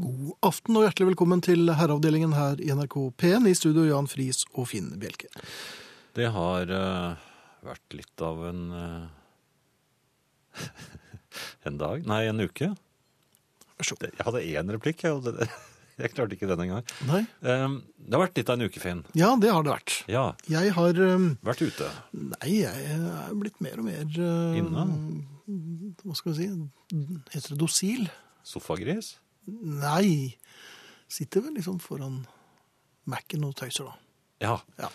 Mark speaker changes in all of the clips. Speaker 1: God aften og hjertelig velkommen til herreavdelingen her i NRK P1. I studio Jan Friis og Finn Bjelke.
Speaker 2: Det har eh, vært litt av en eh, En dag? Nei, en uke.
Speaker 1: Vær så god.
Speaker 2: Det- Jeg hadde én replikk, jeg, og det, jeg klarte ikke den engang.
Speaker 1: Nei?
Speaker 2: Um, det har vært litt av en uke, Finn.
Speaker 1: Ja, det har det vært.
Speaker 2: Ja.
Speaker 1: Jeg har eh,
Speaker 2: Vært ute.
Speaker 1: Nei, jeg er blitt mer og mer eh,
Speaker 2: Inne?
Speaker 1: Hva skal vi si? Heter det dosil?
Speaker 2: Sofagris.
Speaker 1: Nei. Sitter vel liksom foran Mac-en og tøyser, da.
Speaker 2: Ja.
Speaker 1: Ja.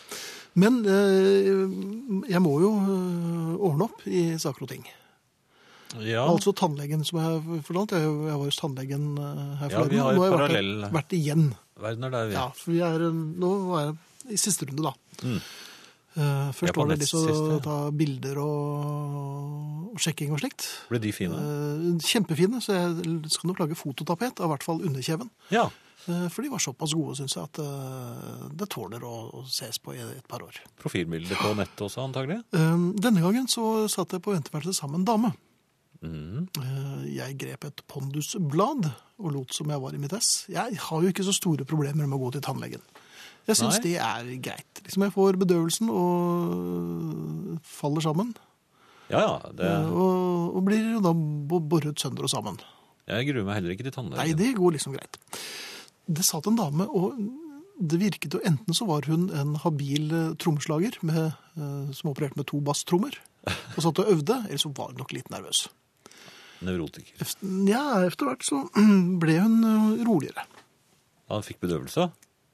Speaker 1: Men eh, jeg må jo eh, ordne opp i saker og ting.
Speaker 2: ja.
Speaker 1: Altså tannlegen som jeg fortalte. Jeg, jeg var hos tannlegen eh, her
Speaker 2: Ja,
Speaker 1: forleden.
Speaker 2: vi har
Speaker 1: Nå
Speaker 2: et
Speaker 1: jeg
Speaker 2: parallell-
Speaker 1: Vært, vært igjen.
Speaker 2: Verden er der, vi.
Speaker 1: Ja, for vi er, eh, nå var jeg i siste runde, da.
Speaker 2: Mm.
Speaker 1: Eh,
Speaker 2: Jeg er
Speaker 1: Først
Speaker 2: på
Speaker 1: var det
Speaker 2: nest
Speaker 1: liksom
Speaker 2: sist, ja.
Speaker 1: å ta bilder og, og sjekking og slikt.
Speaker 2: Ble de fine?
Speaker 1: Eh, Kjempefine, så jeg skal nok lage fototapet av i hvert fall underkjeven.
Speaker 2: Ja.
Speaker 1: Eh, For de var såpass gode, syns jeg, at eh, det tåler å å ses på i et par år.
Speaker 2: Profilbilder på nettet også, antagelig.
Speaker 1: Eh, Denne gangen så satt jeg på venteværelset sammen med en dame.
Speaker 2: Mm.
Speaker 1: Eh, Jeg grep et pondusblad og lot som jeg var i mitt ess. Jeg har jo ikke så store problemer med å gå til tannlegen. Jeg syns
Speaker 2: Nei.
Speaker 1: det er greit. Liksom jeg får bedøvelsen og faller sammen.
Speaker 2: Ja ja. Det,
Speaker 1: eh, Og, og blir jo da bo- boret sønder og sammen.
Speaker 2: jeg gruer meg heller ikke til
Speaker 1: Nei,
Speaker 2: tannlegen.
Speaker 1: det går liksom greit. Det satt en dame, og det virket jo enten så var hun en habil eh, trommeslager med, eh, som opererte med to basstrommer og satt og øvde, eller så var hun nok litt nervøs.
Speaker 2: Nevrotiker.
Speaker 1: Efter, ja, etter hvert så ble hun ø, roligere.
Speaker 2: Han fikk bedøvelse.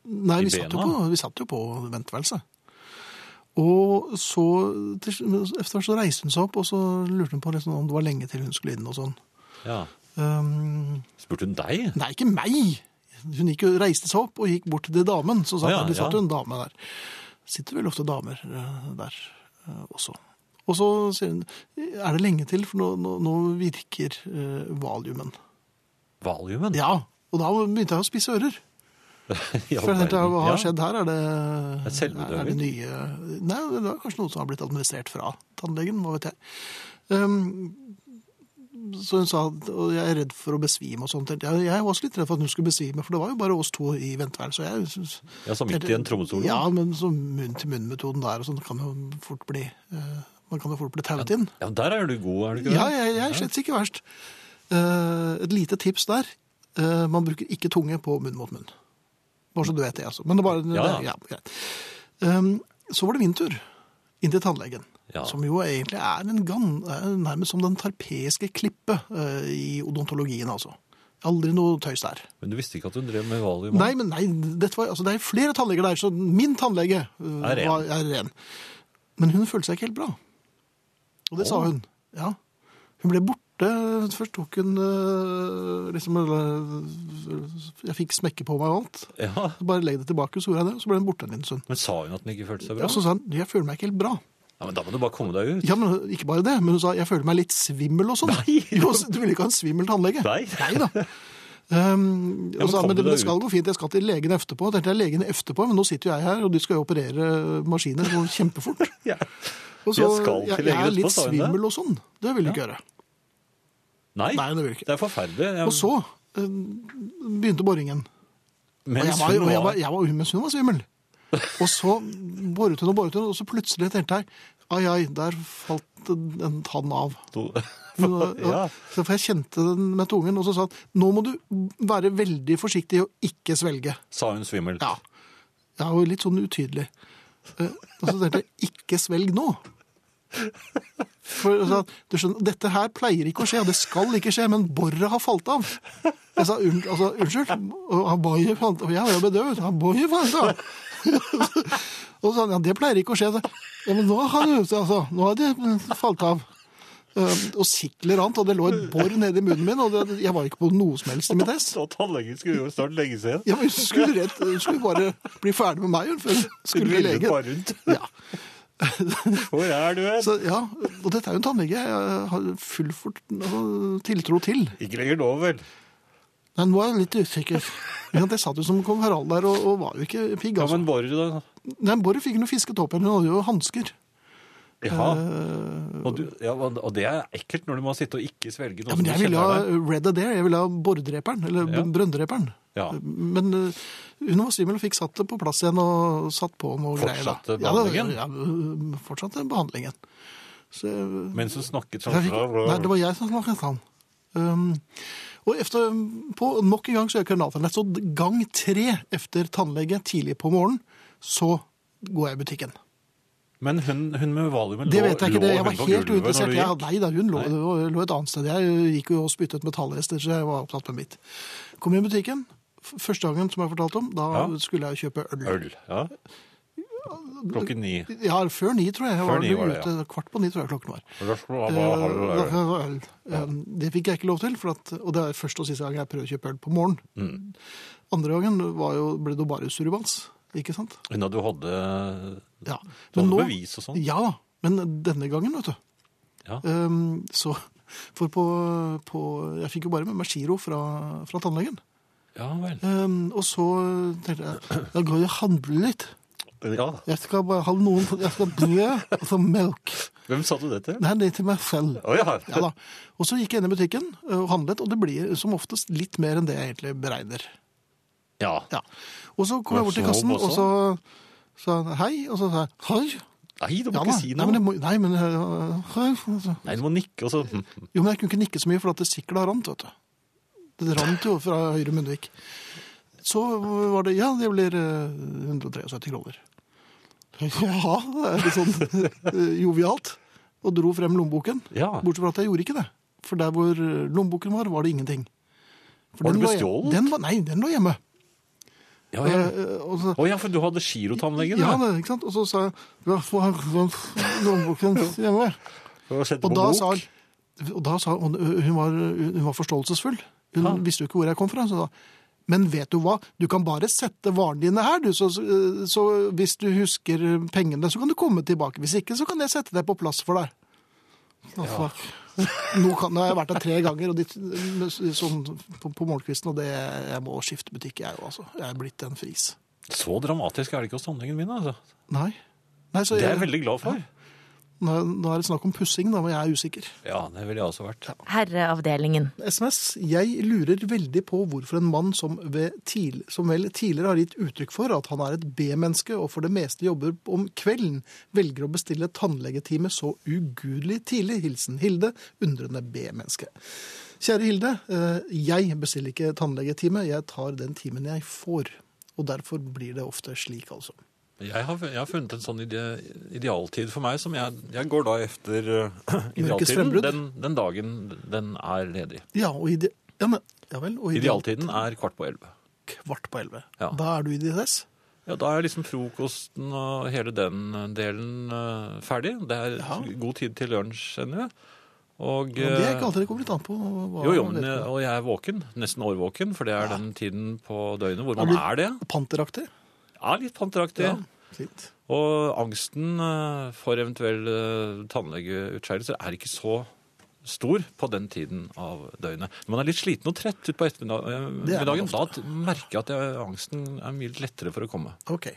Speaker 1: Nei,
Speaker 2: I
Speaker 1: vi satt, jo
Speaker 2: bena?
Speaker 1: på, vi satt jo på venteværelset. Og så, til, sl- efter hvert så reiste hun seg opp, og så lurte hun på liksom, om det var lenge til hun skulle inn og sånn.
Speaker 2: Ja.
Speaker 1: Ehm,
Speaker 2: Spurte hun deg?
Speaker 1: nei, ikke meg! Hun gikk, jo- reiste seg opp og gikk bort til damen, så satt,
Speaker 2: Å ja,
Speaker 1: det satt
Speaker 2: ja.
Speaker 1: jo en dame der. Sitter vel ofte damer ø, der ø, også. Og så sier hun, er det lenge til, for nå, nå, nå virker ø, valiumen.
Speaker 2: Valiumen?
Speaker 1: Ja, og da begynte jeg å spise ører.
Speaker 2: I all
Speaker 1: For jeg tenkte,
Speaker 2: verden.
Speaker 1: hva
Speaker 2: Ja.
Speaker 1: har skjedd her? Er det,
Speaker 2: Et selvbedøving?
Speaker 1: er det nye Nei, det var kanskje noe som har blitt administrert fra tannlegen, hva vet jeg. Ehm, så hun sa at og jeg er redd for å besvime og sånt. Jeg, jeg var også litt redd for at hun skulle besvime, for det var jo bare oss to i venteværelset. og jeg synes-
Speaker 2: Ja, så midt i en trommestol?
Speaker 1: Ja, men så munn-til-munn-metoden der og sånn kan jo fort bli eh, Man kan jo fort bli tauet inn.
Speaker 2: Ja, men der er du god, er du ikke
Speaker 1: Ja, jeg, jeg er slett ikke verst. Eh, et lite tips der. Eh, man bruker ikke tunge på munn mot munn. Bare så du vet det, altså. Men det er bare,
Speaker 2: Ja, ja.
Speaker 1: det- ja, greit. Ehm, så var det min tur inn til tannlegen.
Speaker 2: Ja.
Speaker 1: Som jo egentlig er en gan, er nærmest som den tarpeiske klippe eh, i odontologien, altså. Aldri noe tøys der.
Speaker 2: Men du visste ikke at hun drev med valium?
Speaker 1: Nei, men nei, dette var, altså, det er flere tannleger der, så min tannlege eh,
Speaker 2: Er ren.
Speaker 1: var- er ren. Men hun følte seg ikke helt bra. Og det sa
Speaker 2: Å.
Speaker 1: hun. Ja. Hun ble borte. Først tok hun eh, liksom eh, Jeg fikk smekke på meg og alt.
Speaker 2: Ja,
Speaker 1: Så bare legg det tilbake, så gjorde jeg det. Og så ble hun borte en liten stund.
Speaker 2: Men sa hun at hun ikke følte seg bra?
Speaker 1: Og så sa hun jeg føler meg ikke helt bra.
Speaker 2: Ja, men Da må du bare komme deg ut.
Speaker 1: Ja, men Ikke bare det, men hun sa jeg føler meg litt svimmel og sånn.
Speaker 2: Nei!
Speaker 1: Jo, Du ville ikke ha en svimmel tannlege?
Speaker 2: Nei.
Speaker 1: da. Um,
Speaker 2: Ja, men
Speaker 1: og sa,
Speaker 2: kom
Speaker 1: men
Speaker 2: du
Speaker 1: det,
Speaker 2: deg
Speaker 1: det skal gå fint, jeg skal til legen etterpå. Jeg tenkte jeg legen etterpå, men nå sitter jo jeg her, og de skal jo operere maskiner det går kjempefort.
Speaker 2: Ja.
Speaker 1: Og
Speaker 2: Jeg skal til
Speaker 1: jeg,
Speaker 2: legen
Speaker 1: jeg er
Speaker 2: etterpå,
Speaker 1: litt
Speaker 2: sa hun det?
Speaker 1: svimmel og sånn. Det vil du ikke gjøre.
Speaker 2: Nei,
Speaker 1: Nei, det vil ikke.
Speaker 2: det er forferdelig. Jeg,
Speaker 1: Og så eh, begynte boringen. Og jeg
Speaker 2: mens
Speaker 1: var,
Speaker 2: hun
Speaker 1: og jeg var,
Speaker 2: var,
Speaker 1: jeg var, mens hun var svimmel. Og så boret hun og boret hun, og så plutselig tenkte jeg ai, ai, der falt en tann av.
Speaker 2: sto- ja.
Speaker 1: Så for jeg kjente den med tungen, og så sa han nå må du være veldig forsiktig og ikke svelge.
Speaker 2: Sa hun svimmel?
Speaker 1: Ja. Jeg er jo litt sånn utydelig. Eh, Og så tenkte jeg ikke svelg nå. For så, sa han, du skjønner, Dette her pleier ikke å skje, og det skal ikke skje, men boret har falt av. Jeg sa unn, altså, unnskyld, og han bare fant og jeg var jo bedøvet. Han bare fant av. Og så sa han ja, det pleier ikke å skje. Så, Ja, men nå har det, altså, nå har det falt av. Eh, Og sikler annet, og det lå et bor nedi munnen min, og det, jeg var ikke på noe som helst i mitt ess.
Speaker 2: Så tannlegen skulle jo snart legge seg igjen.
Speaker 1: Ja, men hun skulle, rett, hun skulle bare bli ferdig med meg hun, før hun
Speaker 2: Hun
Speaker 1: skulle til
Speaker 2: ville
Speaker 1: legen.
Speaker 2: bare rundt.
Speaker 1: Ja.
Speaker 2: Hvor er du hen?
Speaker 1: Så, ja, og dette er jo en tannlege jeg har full fort, altså, tiltro til.
Speaker 2: Ikke lenger nå, vel?
Speaker 1: Nei, nå er jeg litt usikker. Men det satt jo som kong Harald der, og, og var jo ikke pigg.
Speaker 2: Ja,
Speaker 1: Altså.
Speaker 2: men Borre, da?
Speaker 1: Nei, Bård fikk noe fisket opp, men hun hadde jo hansker.
Speaker 2: Jaha.
Speaker 1: Eh,
Speaker 2: Og, du, ja, og og det er ekkelt når du må sitte og ikke svelge
Speaker 1: ja,
Speaker 2: noe
Speaker 1: men jeg
Speaker 2: som du
Speaker 1: ville ha
Speaker 2: kjenner deg.
Speaker 1: Red of Dare, jeg ville ha Bordreperen, eller
Speaker 2: Ja.
Speaker 1: Brønndreperen.
Speaker 2: Ja.
Speaker 1: Men eh, hun var svimmel og fikk satt det på plass igjen og satt på noe greier. da.
Speaker 2: Fortsatte
Speaker 1: Ja, da-
Speaker 2: behandlingen?
Speaker 1: Ja, øh, fortsatte behandlingen. Så, jeg-
Speaker 2: Mens hun snakket sånn
Speaker 1: jeg fikk, nei, det var jeg som snakket sånn. Um, og efter, på nok en gang så er kriminaltannlett, så gang tre efter tannlege tidlig på morgenen, så går jeg i butikken.
Speaker 2: Men hun, hun med valiumen
Speaker 1: Det
Speaker 2: lå,
Speaker 1: vet jeg ikke.
Speaker 2: lå
Speaker 1: Det. Jeg var
Speaker 2: hun på
Speaker 1: helt
Speaker 2: gulvet
Speaker 1: uinteressert.
Speaker 2: når du
Speaker 1: Jeg,
Speaker 2: gikk?
Speaker 1: nei da, hun lå,
Speaker 2: Nei.
Speaker 1: det var- lå et annet sted. Jeg gikk jo og spyttet metallrester, så jeg var opptatt med mitt. Kom inn i butikken. F- Første gangen som jeg fortalte om, da
Speaker 2: Ja.
Speaker 1: skulle jeg kjøpe øl.
Speaker 2: Øl, ja. Klokken ni.
Speaker 1: Ja, før ni, tror jeg. jeg
Speaker 2: Før
Speaker 1: var
Speaker 2: ni var det,
Speaker 1: ute, Kvart på ni, tror jeg klokken var.
Speaker 2: Da skal du ha- hva har du
Speaker 1: Eh, da
Speaker 2: der?
Speaker 1: kan jeg ha øl. Eh, Det fikk jeg ikke lov til, for at, og det er første og siste gang jeg prøver å kjøpe øl på morgenen.
Speaker 2: Mm.
Speaker 1: Andre gangen var jo, ble det jo bare surrubans, ikke sant?
Speaker 2: Hun hadde jo hadde
Speaker 1: Ja.
Speaker 2: sånn bevis og sånn.
Speaker 1: Ja da, men denne gangen, vet du.
Speaker 2: Ja.
Speaker 1: Ehm, så, for på, på Jeg fikk jo bare med meg giro fra, fra tannlegen.
Speaker 2: Ja vel.
Speaker 1: Ehm, og så tenkte jeg da går jeg og handler litt.
Speaker 2: Ja.
Speaker 1: Jeg skal bare ha noen Jeg skal ha brød og så melk.
Speaker 2: Hvem sa du det til?
Speaker 1: Nei, det er til meg selv.
Speaker 2: Å ja.
Speaker 1: Ja da. Og så gikk jeg inn i butikken eh, og handlet, og det blir som oftest litt mer enn det jeg egentlig beregner.
Speaker 2: ja.
Speaker 1: Ja. Og så kom jeg bort til
Speaker 2: Var det
Speaker 1: kassen,
Speaker 2: snobb
Speaker 1: og så sa han hei, og så sa jeg hei.
Speaker 2: Nei, du må
Speaker 1: Ja, da.
Speaker 2: ikke si
Speaker 1: nei,
Speaker 2: noe.
Speaker 1: men jeg må, nei, men øh, hei. Så-
Speaker 2: Nei, du må nikke, og så hm, hm.
Speaker 1: Jo, men jeg kunne ikke nikke så mye, for at det sikla rant, vet du. Det rant jo fra høyre munnvik. Så var det Ja, det blir eh, 173 kroner. Ja, det er litt sånn eh, jovialt. Og dro frem lommeboken.
Speaker 2: Ja.
Speaker 1: Bortsett fra at jeg gjorde ikke det. For der hvor lommeboken var, var det ingenting. For
Speaker 2: Var
Speaker 1: den
Speaker 2: det
Speaker 1: hjem-
Speaker 2: bestjålet?
Speaker 1: Den var, nei, den lå hjemme.
Speaker 2: Ja, ja.
Speaker 1: Eh, eh, og så,
Speaker 2: Å ja, for du hadde girotannlegen?
Speaker 1: ja,
Speaker 2: da.
Speaker 1: det, ikke sant? Og så sa jeg «Ja, få her lommeboken hjemme.
Speaker 2: For å sette
Speaker 1: Og
Speaker 2: på
Speaker 1: da
Speaker 2: bok.
Speaker 1: sa, han- og da sa hun, hun, var, hun var forståelsesfull. Hun
Speaker 2: Ja.
Speaker 1: visste jo ikke hvor jeg kom fra. Så da, men vet du hva, du kan bare sette varene dine her, du. Så, så hvis du husker pengene, så kan du komme tilbake. Hvis ikke, så kan jeg sette deg på plass for deg. Å, fuck. Nå, kan, nå har jeg vært der tre ganger og de, sånn, på, på morgenkvisten, og det, jeg må skifte butikk, jeg òg, altså. Jeg er blitt en fris.
Speaker 2: Så dramatisk er det ikke hos tannlegen min, altså.
Speaker 1: Nei. Nei så
Speaker 2: Det er
Speaker 1: jeg,
Speaker 2: jeg veldig glad for.
Speaker 1: nå, nå er det snakk om pussing, da, men jeg er usikker.
Speaker 2: Ja, det ville jeg også vært.
Speaker 3: Herreavdelingen.
Speaker 1: SMS. Jeg lurer veldig på hvorfor en mann som, ved til, som vel tidligere har gitt uttrykk for at han er et B-menneske og for det meste jobber om kvelden, velger å bestille tannlegetime så ugudelig tidlig. Hilsen Hilde, undrende B-menneske. Kjære Hilde, eh, jeg bestiller ikke tannlegetime, jeg tar den timen jeg får. Og derfor blir det ofte slik, altså.
Speaker 2: Jeg har, jeg har funnet en sånn ide, idealtid for meg som jeg, jeg går da efter eh, idealtiden
Speaker 1: frembrudd.
Speaker 2: den, den dagen den er ledig.
Speaker 1: Ja, og ide, ja, men, ja vel, og ideal
Speaker 2: Idealtiden er kvart på elleve.
Speaker 1: kvart på elleve.
Speaker 2: Ja.
Speaker 1: Da er du i DSS?
Speaker 2: Ja, da er liksom frokosten og hele den delen eh, ferdig. Det er god tid til lunsj ennå.
Speaker 1: Men
Speaker 2: Og,
Speaker 1: det er
Speaker 2: eh,
Speaker 1: ikke alltid det kommer litt an på hva
Speaker 2: jo, jo, men, eh,
Speaker 1: vet
Speaker 2: jeg-
Speaker 1: du.
Speaker 2: og jeg er våken, nesten årvåken, for det er den tiden på døgnet hvor man
Speaker 1: du-
Speaker 2: er det.
Speaker 1: Panteraktig?
Speaker 2: Er litt panteraktig.
Speaker 1: Fint.
Speaker 2: Og angsten eh, for eventuelle eh, tannlegeutskeielser er ikke så stor på den tiden av døgnet. Når man er litt sliten og trett utpå
Speaker 1: Det er man
Speaker 2: ettermiddagen, da t- merker jeg at jeg, angsten er mye lettere for å komme.
Speaker 1: Ok.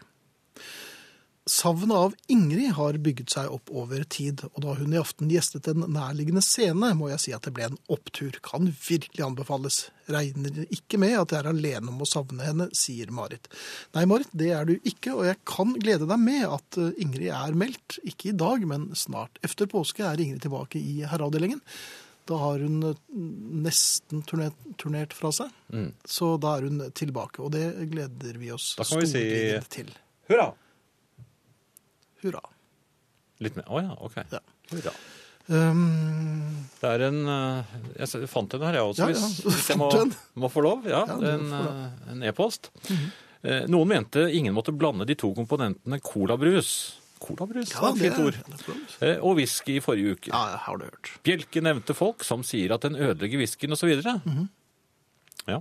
Speaker 1: Savnet av Ingrid har bygget seg opp over tid, og da hun i aften gjestet en nærliggende scene, må jeg si at det ble en opptur. Kan virkelig anbefales. Regner ikke med at jeg er alene om å savne henne, sier Marit. Nei, Marit, det er du ikke, og jeg kan glede deg med at eh, Ingrid er meldt. Ikke i dag, men snart. Efter påske er Ingrid tilbake i herreavdelingen. Da har hun eh, nesten turnert, turnert fra seg,
Speaker 2: Mm.
Speaker 1: så da er hun tilbake, og det gleder vi oss
Speaker 2: Da kan vi si-
Speaker 1: storliggende til.
Speaker 2: Hurra!
Speaker 1: Hurra.
Speaker 2: Litt mer. Å ja, ok.
Speaker 1: Ja.
Speaker 2: Hurra.
Speaker 1: Um,
Speaker 2: Det er en eh, Jeg s- fant en her, jeg også,
Speaker 1: Ja, ja,
Speaker 2: hvis,
Speaker 1: du
Speaker 2: hvis jeg må,
Speaker 1: fant en.
Speaker 2: må få lov. Ja,
Speaker 1: Ja,
Speaker 2: det
Speaker 1: du
Speaker 2: er
Speaker 1: må
Speaker 2: en,
Speaker 1: få Mhm.
Speaker 2: eh, en e-post. Eh, Noen mente ingen måtte blande de to komponentene colabrus Colabrus, ja, det er et fint ord. Eh, Og whisky i forrige uke.
Speaker 1: Ja, det har du hørt.
Speaker 2: Bjelke nevnte folk som sier at den ødelegger whiskyen osv. Ja.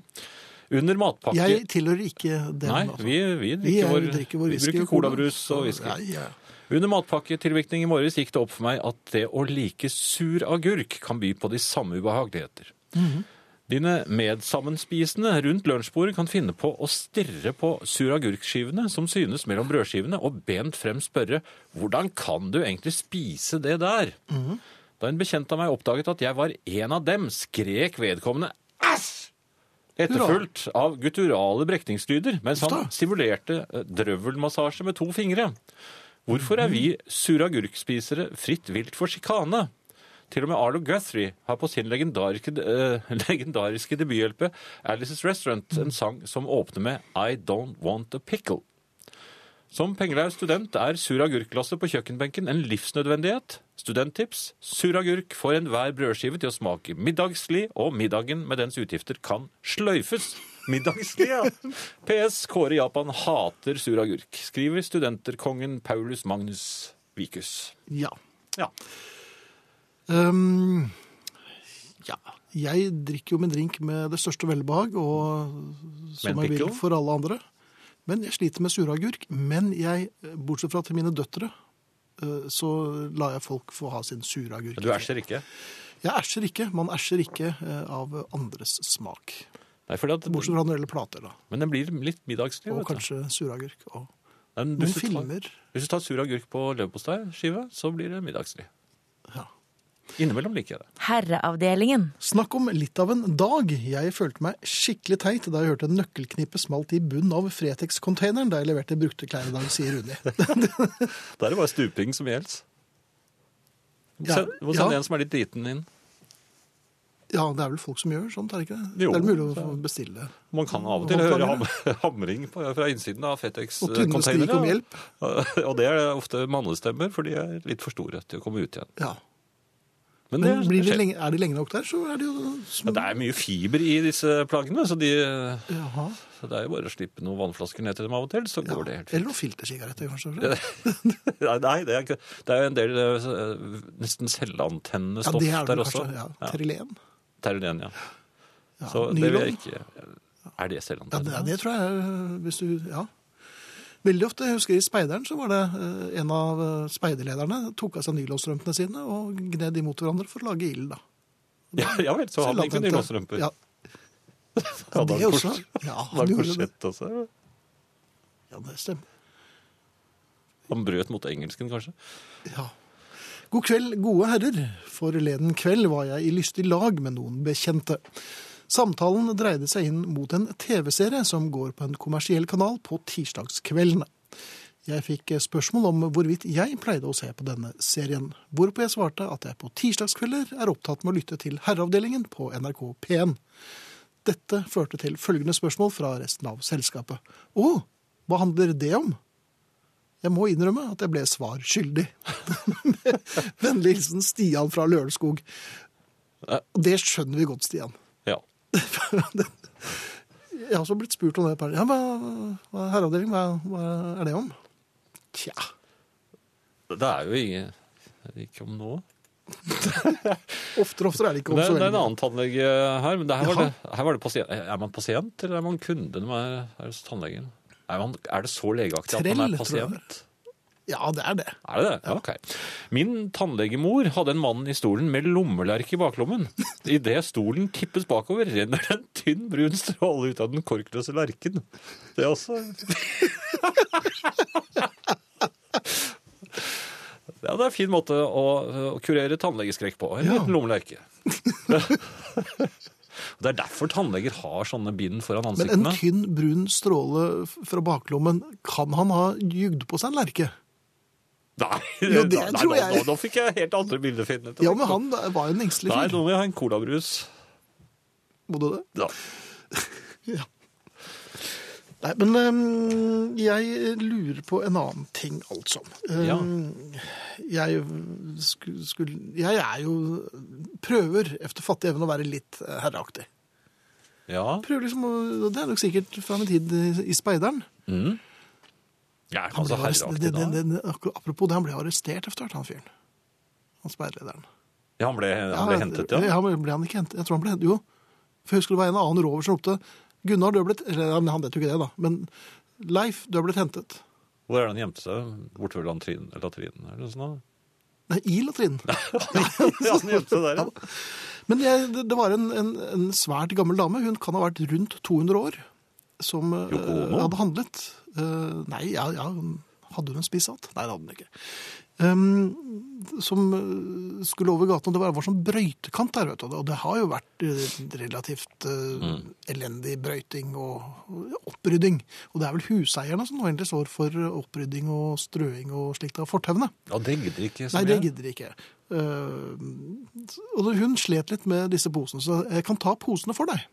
Speaker 2: Under matpakke
Speaker 1: Mhm. Jeg tilhører ikke den.
Speaker 2: Nei,
Speaker 1: altså.
Speaker 2: vi, vi drikker,
Speaker 1: Vi er-
Speaker 2: vår,
Speaker 1: drikker vår
Speaker 2: vi
Speaker 1: whisky
Speaker 2: bruker
Speaker 1: og cola.
Speaker 2: colabrus og whisky.
Speaker 1: Ja, ja.
Speaker 2: Under matpakketilvirkning i morges gikk det opp for meg at det å like sur agurk kan by på de samme ubehageligheter. Dine medsammenspisende rundt lunsjbordet kan finne på å stirre på suragurkskivene som synes mellom brødskivene, og bent frem spørre 'Hvordan kan du egentlig spise det der?' Da en bekjent av meg oppdaget at jeg var en av dem, skrek vedkommende 'æsj!' Etterfulgt av gutturale brekningslyder mens han
Speaker 1: Hva?
Speaker 2: simulerte eh, drøvelmassasje med to fingre. Hvorfor er vi suragurkspisere fritt vilt for sjikane? Til og med Arlo Guthrie har på sin legendariske, eh, legendariske debuthjelpe Alice's Restaurant en sang som åpner med I Don't Want a Pickle. Som pengelaus student er suragurkglasset på kjøkkenbenken en livsnødvendighet. Studenttips suragurk får enhver brødskive til å smake middagslig, og middagen med dens utgifter kan sløyfes. Middagslig, ja! PS Kåre Japan hater suragurk, skriver studenterkongen Paulus Magnus Vikus.
Speaker 1: Ja.
Speaker 2: Ja.
Speaker 1: Ehm, ja. Jeg drikker jo min drink med det største velbehag, og som
Speaker 2: Med en
Speaker 1: jeg vil
Speaker 2: pickle?
Speaker 1: for alle andre. Men jeg sliter med suragurk. Men jeg, bortsett fra til mine døtre, eh, så lar jeg folk få ha sin suragurk.
Speaker 2: Men du æsjer ikke?
Speaker 1: Jeg æsjer ikke. Man æsjer ikke eh, av andres smak.
Speaker 2: Nei, fordi at,
Speaker 1: Bortsett fra når det gjelder plater, da.
Speaker 2: men den blir litt middagslig.
Speaker 1: Og
Speaker 2: vet du.
Speaker 1: kanskje suragurk. Og
Speaker 2: Den,
Speaker 1: noen
Speaker 2: hvis, du tar,
Speaker 1: filmer.
Speaker 2: hvis du tar suragurk på leverposteiskive, så blir det middagslig.
Speaker 1: Ja.
Speaker 2: Innimellom liker jeg det.
Speaker 3: Herreavdelingen.
Speaker 1: Snakk om litt av en dag. Jeg følte meg skikkelig teit da jeg hørte en nøkkelknippe smalt i bunnen av Fretex-containeren da jeg leverte brukte klær i dag, sier Rune.
Speaker 2: Da er det bare stuping som gjelder. Du må
Speaker 1: Ja,
Speaker 2: sende- du må sende
Speaker 1: ja.
Speaker 2: en som er litt liten inn.
Speaker 1: Ja, det er vel folk som gjør sånt, er det ikke det?
Speaker 2: Jo.
Speaker 1: det er vel mulig å få bestille.
Speaker 2: Man kan av og til
Speaker 1: Håndlanger,
Speaker 2: høre ham- hamring på, fra innsiden
Speaker 1: Og
Speaker 2: av
Speaker 1: kvinnene skriker om
Speaker 2: Fetex-containere.
Speaker 1: hjelp.
Speaker 2: Og det er ofte mannestemmer, for de er litt for store til å komme ut igjen.
Speaker 1: Ja.
Speaker 2: Men det,
Speaker 1: Men blir
Speaker 2: skjer.
Speaker 1: det lenge, er de lenge nok der, så er det jo
Speaker 2: Ja,
Speaker 1: små.
Speaker 2: det er mye fiber i disse plaggene, så, de,
Speaker 1: Jaha.
Speaker 2: så det er jo bare å slippe noen vannflasker ned til dem av og til, så
Speaker 1: Ja.
Speaker 2: går det helt fint.
Speaker 1: Eller noen filtersigaretter, kanskje.
Speaker 2: Nei, nei, det er, ikke- det er jo en del eh, nesten selvantennende
Speaker 1: Ja,
Speaker 2: stoff
Speaker 1: det er det
Speaker 2: der
Speaker 1: kanskje.
Speaker 2: også.
Speaker 1: Ja.
Speaker 2: Ja,
Speaker 1: Terelen.
Speaker 2: Terlen, ja.
Speaker 1: Ja.
Speaker 2: Så det vil jeg ikke Er det
Speaker 1: Ja, det,
Speaker 2: selvantennende?
Speaker 1: det tror jeg er, hvis du Ja. Veldig ofte, jeg husker i Speideren, så var det eh, en av eh, speiderlederne tok av seg nylonstrømpene sine og gned imot hverandre for å lage ild, da.
Speaker 2: Ja, ja vel, så hadde han ikke
Speaker 1: Selvantente.
Speaker 2: nylonstrømper.
Speaker 1: Ja,
Speaker 2: Hadde
Speaker 1: det
Speaker 2: han
Speaker 1: også.
Speaker 2: kors-
Speaker 1: Ja,
Speaker 2: hadde
Speaker 1: han
Speaker 2: han
Speaker 1: gjorde det.
Speaker 2: korsett også?
Speaker 1: Ja, det stemmer.
Speaker 2: Han brøt mot engelsken, kanskje?
Speaker 1: Ja. God kveld, gode herrer. Forleden kveld var jeg i lystig lag med noen bekjente. Samtalen dreide seg inn mot en TV-serie som går på en kommersiell kanal på tirsdagskveldene. Jeg fikk spørsmål om hvorvidt jeg pleide å se på denne serien, hvorpå jeg svarte at jeg på tirsdagskvelder er opptatt med å lytte til Herreavdelingen på NRK P1. Dette førte til følgende spørsmål fra resten av selskapet. Å, hva handler det om? Jeg må innrømme at jeg ble svar skyldig. Vennlig hilsen Stian fra Lørenskog. Og det skjønner vi godt, Stian.
Speaker 2: Ja.
Speaker 1: Jeg har også blitt spurt om det. et par- Ja, hva, hva, herreavdeling, hva, hva er det om? Tja.
Speaker 2: Det er jo ingen ikke om noe.
Speaker 1: Oftere og oftere er det ikke om
Speaker 2: Det,
Speaker 1: så
Speaker 2: det er en
Speaker 1: veldig.
Speaker 2: annen tannlege her. men det her, var
Speaker 1: Jaha.
Speaker 2: det, her var det pasient. Er man pasient, eller er man kunde når man er, er hos tannlegen? Er, man, er det så legeaktig at man
Speaker 1: Trell,
Speaker 2: er
Speaker 1: tror jeg det er.
Speaker 2: pasient?
Speaker 1: Ja, det er det.
Speaker 2: Er det det? Ja. Ok. Min tannlegemor hadde en mann i stolen med lommelerke i baklommen. Idet stolen tippes bakover, renner det en tynn brun stråle ut av den korkløse lerken. Det er også Ja, det er en fin måte å, å kurere tannlegeskrekk på. En
Speaker 1: Ja.
Speaker 2: liten lommelerke. Det er derfor tannleger har sånne bind foran
Speaker 1: Men en
Speaker 2: ansiktene.
Speaker 1: tynn, brun stråle f- fra baklommen, kan han ha jugd på seg en lerke?
Speaker 2: Nei,
Speaker 1: Jo, det
Speaker 2: nei, nå,
Speaker 1: tror jeg.
Speaker 2: nå, nå fikk jeg helt andre bilder. Finn.
Speaker 1: Ja, men han var jo en engstelig
Speaker 2: Nei,
Speaker 1: fyr.
Speaker 2: nå må jeg ha en colabrus.
Speaker 1: Må du det?
Speaker 2: Ja.
Speaker 1: Ja. Nei, men øhm, jeg lurer på en annen ting, altså.
Speaker 2: Ja.
Speaker 1: Øhm, Jeg, sku- skulle, jeg er jo prøver efter fattig evne å være litt eh, herreaktig.
Speaker 2: Ja.
Speaker 1: Prøver liksom, å- og det er nok sikkert fra min tid i- i speideren.
Speaker 2: Mm. Jeg er
Speaker 1: Han
Speaker 2: altså
Speaker 1: ble arrest-
Speaker 2: herreaktig
Speaker 1: det-
Speaker 2: da.
Speaker 1: det- det- akkur- Apropos det, han ble arrestert efter hvert, han fyren. Han speiderlederen.
Speaker 2: Ja, han ble, han ble hentet, ja.
Speaker 1: Ja, men ble han ikke hentet? Jeg tror han ble hentet, jo. For jeg husker det var en annen rover som ropte, Gunnar, du er blitt, eller nei, han vet jo ikke det da, men Leif, du er blitt hentet.
Speaker 2: Hvor er det han gjemte seg? Borte ved latrinen? Latrinen eller noe sånt? da?
Speaker 1: Nei, i latrinen.
Speaker 2: Ja, han gjemte seg der, ja.
Speaker 1: Men jeg, det, det var en, en, en svært gammel dame. Hun kan ha vært rundt 200 år. Som eh,
Speaker 2: Yoko Ono?
Speaker 1: hadde handlet. Eh, nei, ja, ja, hun- hadde hun en spisshatt? Nei, det hadde hun ikke. Ehm, som eh, skulle over gata, og det var, var sånn brøytekant der, vet du. Og det har jo vært eh, relativt eh, elendig brøyting og, og opprydding. Og det er vel huseierne som nå egentlig står for eh, opprydding og strøing og slikt av fortauene.
Speaker 2: Ja, det gidder ikke så
Speaker 1: Nei,
Speaker 2: mye.
Speaker 1: det gidder jeg ikke. Eh, og hun slet litt med disse posene, så jeg kan ta posene for deg.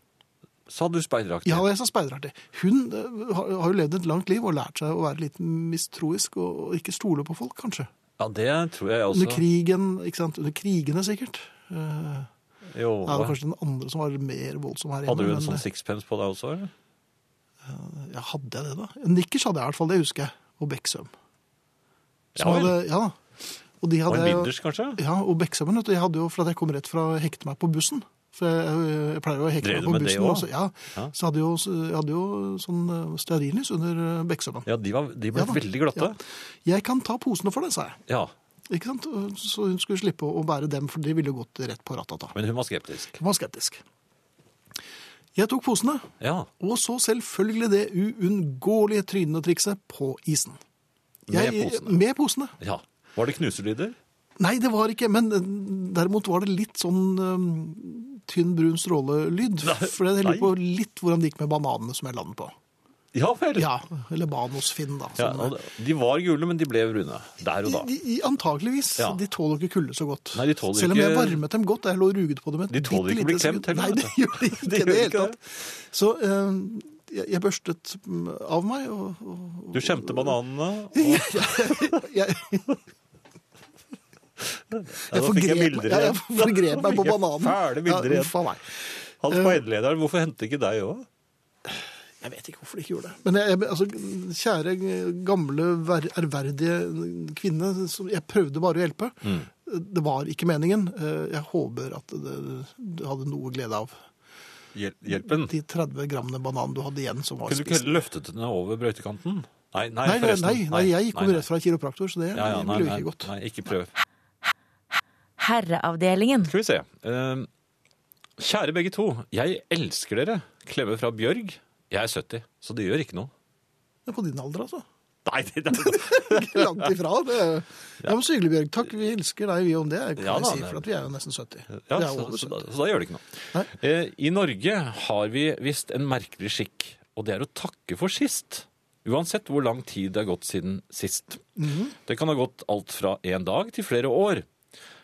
Speaker 2: Sa du speideraktig?
Speaker 1: Ja, og jeg sa speideraktig. Hun eh, har har jo levd et langt liv og lært seg å være litt mistroisk og og ikke stole på folk, kanskje.
Speaker 2: Ja, det tror jeg også.
Speaker 1: Under krigen, ikke sant? Under krigene sikkert. Eh,
Speaker 2: Jo,
Speaker 1: det var kanskje den andre som var mer voldsom her
Speaker 2: Hadde du en
Speaker 1: men,
Speaker 2: sånn sixpence på deg også? eller?
Speaker 1: eh, Ja, hadde jeg det da? En Nikkers hadde jeg i hvert fall, det husker jeg. Og Beksøm. Som
Speaker 2: Ja vel.
Speaker 1: hadde, ja da. Og de
Speaker 2: Og en
Speaker 1: hadde...
Speaker 2: binders, kanskje?
Speaker 1: Ja, og Beksømmen, vet du, jeg hadde jo, for at jeg kom rett fra å hekte meg på bussen. For jeg, eh, jeg pleier jo å hekte meg
Speaker 2: Drev du
Speaker 1: på
Speaker 2: med det
Speaker 1: bussen.
Speaker 2: også?
Speaker 1: også, Ja,
Speaker 2: Ja.
Speaker 1: Så hadde jeg jo, jeg hadde jo sånn eh, stearinlys under eh, Beksømmen.
Speaker 2: Ja, de, var, de ble
Speaker 1: Ja da.
Speaker 2: veldig glatte.
Speaker 1: Jeg kan ta posene for det, sa jeg.
Speaker 2: Ja.
Speaker 1: Ikke sant? Så hun skulle slippe å bære dem, for de ville jo gått rett på ratata.
Speaker 2: men hun var skeptisk.
Speaker 1: Hun var skeptisk. Jeg tok posene,
Speaker 2: Ja,
Speaker 1: og så selvfølgelig det uunngåelige trynetrikset på isen.
Speaker 2: med
Speaker 1: Jeg-
Speaker 2: posene.
Speaker 1: Med posene.
Speaker 2: Ja. Var det knuselyder?
Speaker 1: Nei, det var ikke, men eh, derimot var det litt sånn eh, tynn brun strålelyd.
Speaker 2: Nei,
Speaker 1: For jeg lurer
Speaker 2: nei.
Speaker 1: på litt hvordan det gikk med bananene som jeg landet på.
Speaker 2: Ja vel!
Speaker 1: Ja, sånn eller banosfinn da.
Speaker 2: Ja,
Speaker 1: som- eh,
Speaker 2: og de var gule, men de ble brune. Der og da.
Speaker 1: de, de, antageligvis.
Speaker 2: Ja.
Speaker 1: De tåler ikke kulde så godt.
Speaker 2: Nei, de tåler
Speaker 1: Selv om jeg
Speaker 2: ikke-
Speaker 1: varmet dem godt, jeg lå og ruget på dem et
Speaker 2: De tåler
Speaker 1: bitte
Speaker 2: ikke å bli
Speaker 1: lite sekund.
Speaker 2: klemt heller,
Speaker 1: Nei,
Speaker 2: vet
Speaker 1: det gjør de ikke.
Speaker 2: De
Speaker 1: i det
Speaker 2: gjør
Speaker 1: hele
Speaker 2: ikke
Speaker 1: tatt. Så eh, jeg, jeg børstet mm, av meg, og, og
Speaker 2: Du skjemte bananene, og
Speaker 1: jeg,
Speaker 2: Ja,
Speaker 1: jeg
Speaker 2: nå fikk jeg
Speaker 1: forgrep,
Speaker 2: bilder
Speaker 1: ja, jeg
Speaker 2: igjen.
Speaker 1: forgrep meg
Speaker 2: Nå
Speaker 1: på
Speaker 2: fikk jeg
Speaker 1: bananen.
Speaker 2: Fæle bilder
Speaker 1: ja, eh.
Speaker 2: igjen.
Speaker 1: uff a meg.
Speaker 2: Han speiderlederen, hvorfor hente ikke deg òg?
Speaker 1: Jeg vet ikke hvorfor de ikke gjorde det. Men jeg, jeg, altså, kjære, gamle, ver, ærverdige kvinne, som jeg prøvde bare å hjelpe.
Speaker 2: Mm.
Speaker 1: Det var ikke meningen. Eh, Jeg håper at det- du hadde noe glede av
Speaker 2: Hjel hjelpen.
Speaker 1: de 30 grammene banan du hadde igjen som var
Speaker 2: Kunne du ikke
Speaker 1: spist.
Speaker 2: heller løftet henne over brøytekanten? Nei, nei,
Speaker 1: Nei, nei,
Speaker 2: forresten.
Speaker 1: nei, nei, jeg kom
Speaker 2: nei,
Speaker 1: rett fra kiropraktor, så det
Speaker 2: Ja, ja, nei,
Speaker 1: ville jo
Speaker 2: nei,
Speaker 1: ikke gått.
Speaker 2: nei, ikke prøv.
Speaker 3: Herreavdelingen.
Speaker 2: Skal vi se. Eh, kjære begge to, jeg elsker dere. Klemme fra Bjørg. Jeg er 70, så det gjør ikke noe.
Speaker 1: Det er på din alder, altså.
Speaker 2: Nei, det, det,
Speaker 1: Ikke langt ifra. Det er... Ja, men Så hyggelig, Bjørg. Takk, vi elsker deg, vi om det. Kan
Speaker 2: Ja,
Speaker 1: jeg
Speaker 2: da,
Speaker 1: si,
Speaker 2: det-
Speaker 1: for at vi er jo nesten 70.
Speaker 2: ja,
Speaker 1: Vi er
Speaker 2: så,
Speaker 1: over
Speaker 2: så,
Speaker 1: 70.
Speaker 2: da, så da gjør det ikke noe.
Speaker 1: Nei.
Speaker 2: Eh, I Norge har vi visst en merkelig skikk, og det er å takke for sist. Uansett hvor lang tid det er gått siden sist. Det kan ha gått alt fra én dag til flere år.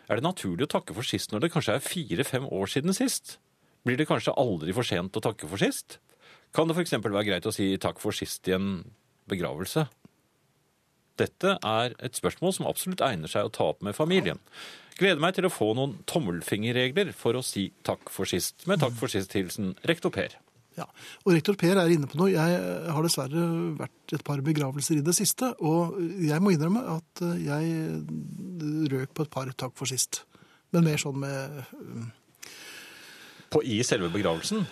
Speaker 2: Er det naturlig å takke for sist når det kanskje er fire-fem år siden sist? Blir det kanskje aldri for sent å takke for sist? Kan det f.eks. være greit å si takk for sist i en begravelse? Dette er et spørsmål som absolutt egner seg å ta opp med familien. Gleder meg til å få noen tommelfingerregler for å si takk for sist. Med takk for sist-hilsen rektor Per.
Speaker 1: Ja, og rektor Per er inne på noe. Jeg eh, har dessverre vært i et par begravelser i det siste, og eh, jeg må innrømme at jeg røk på et par takk for sist. Men mer sånn med
Speaker 2: På I selve begravelsen?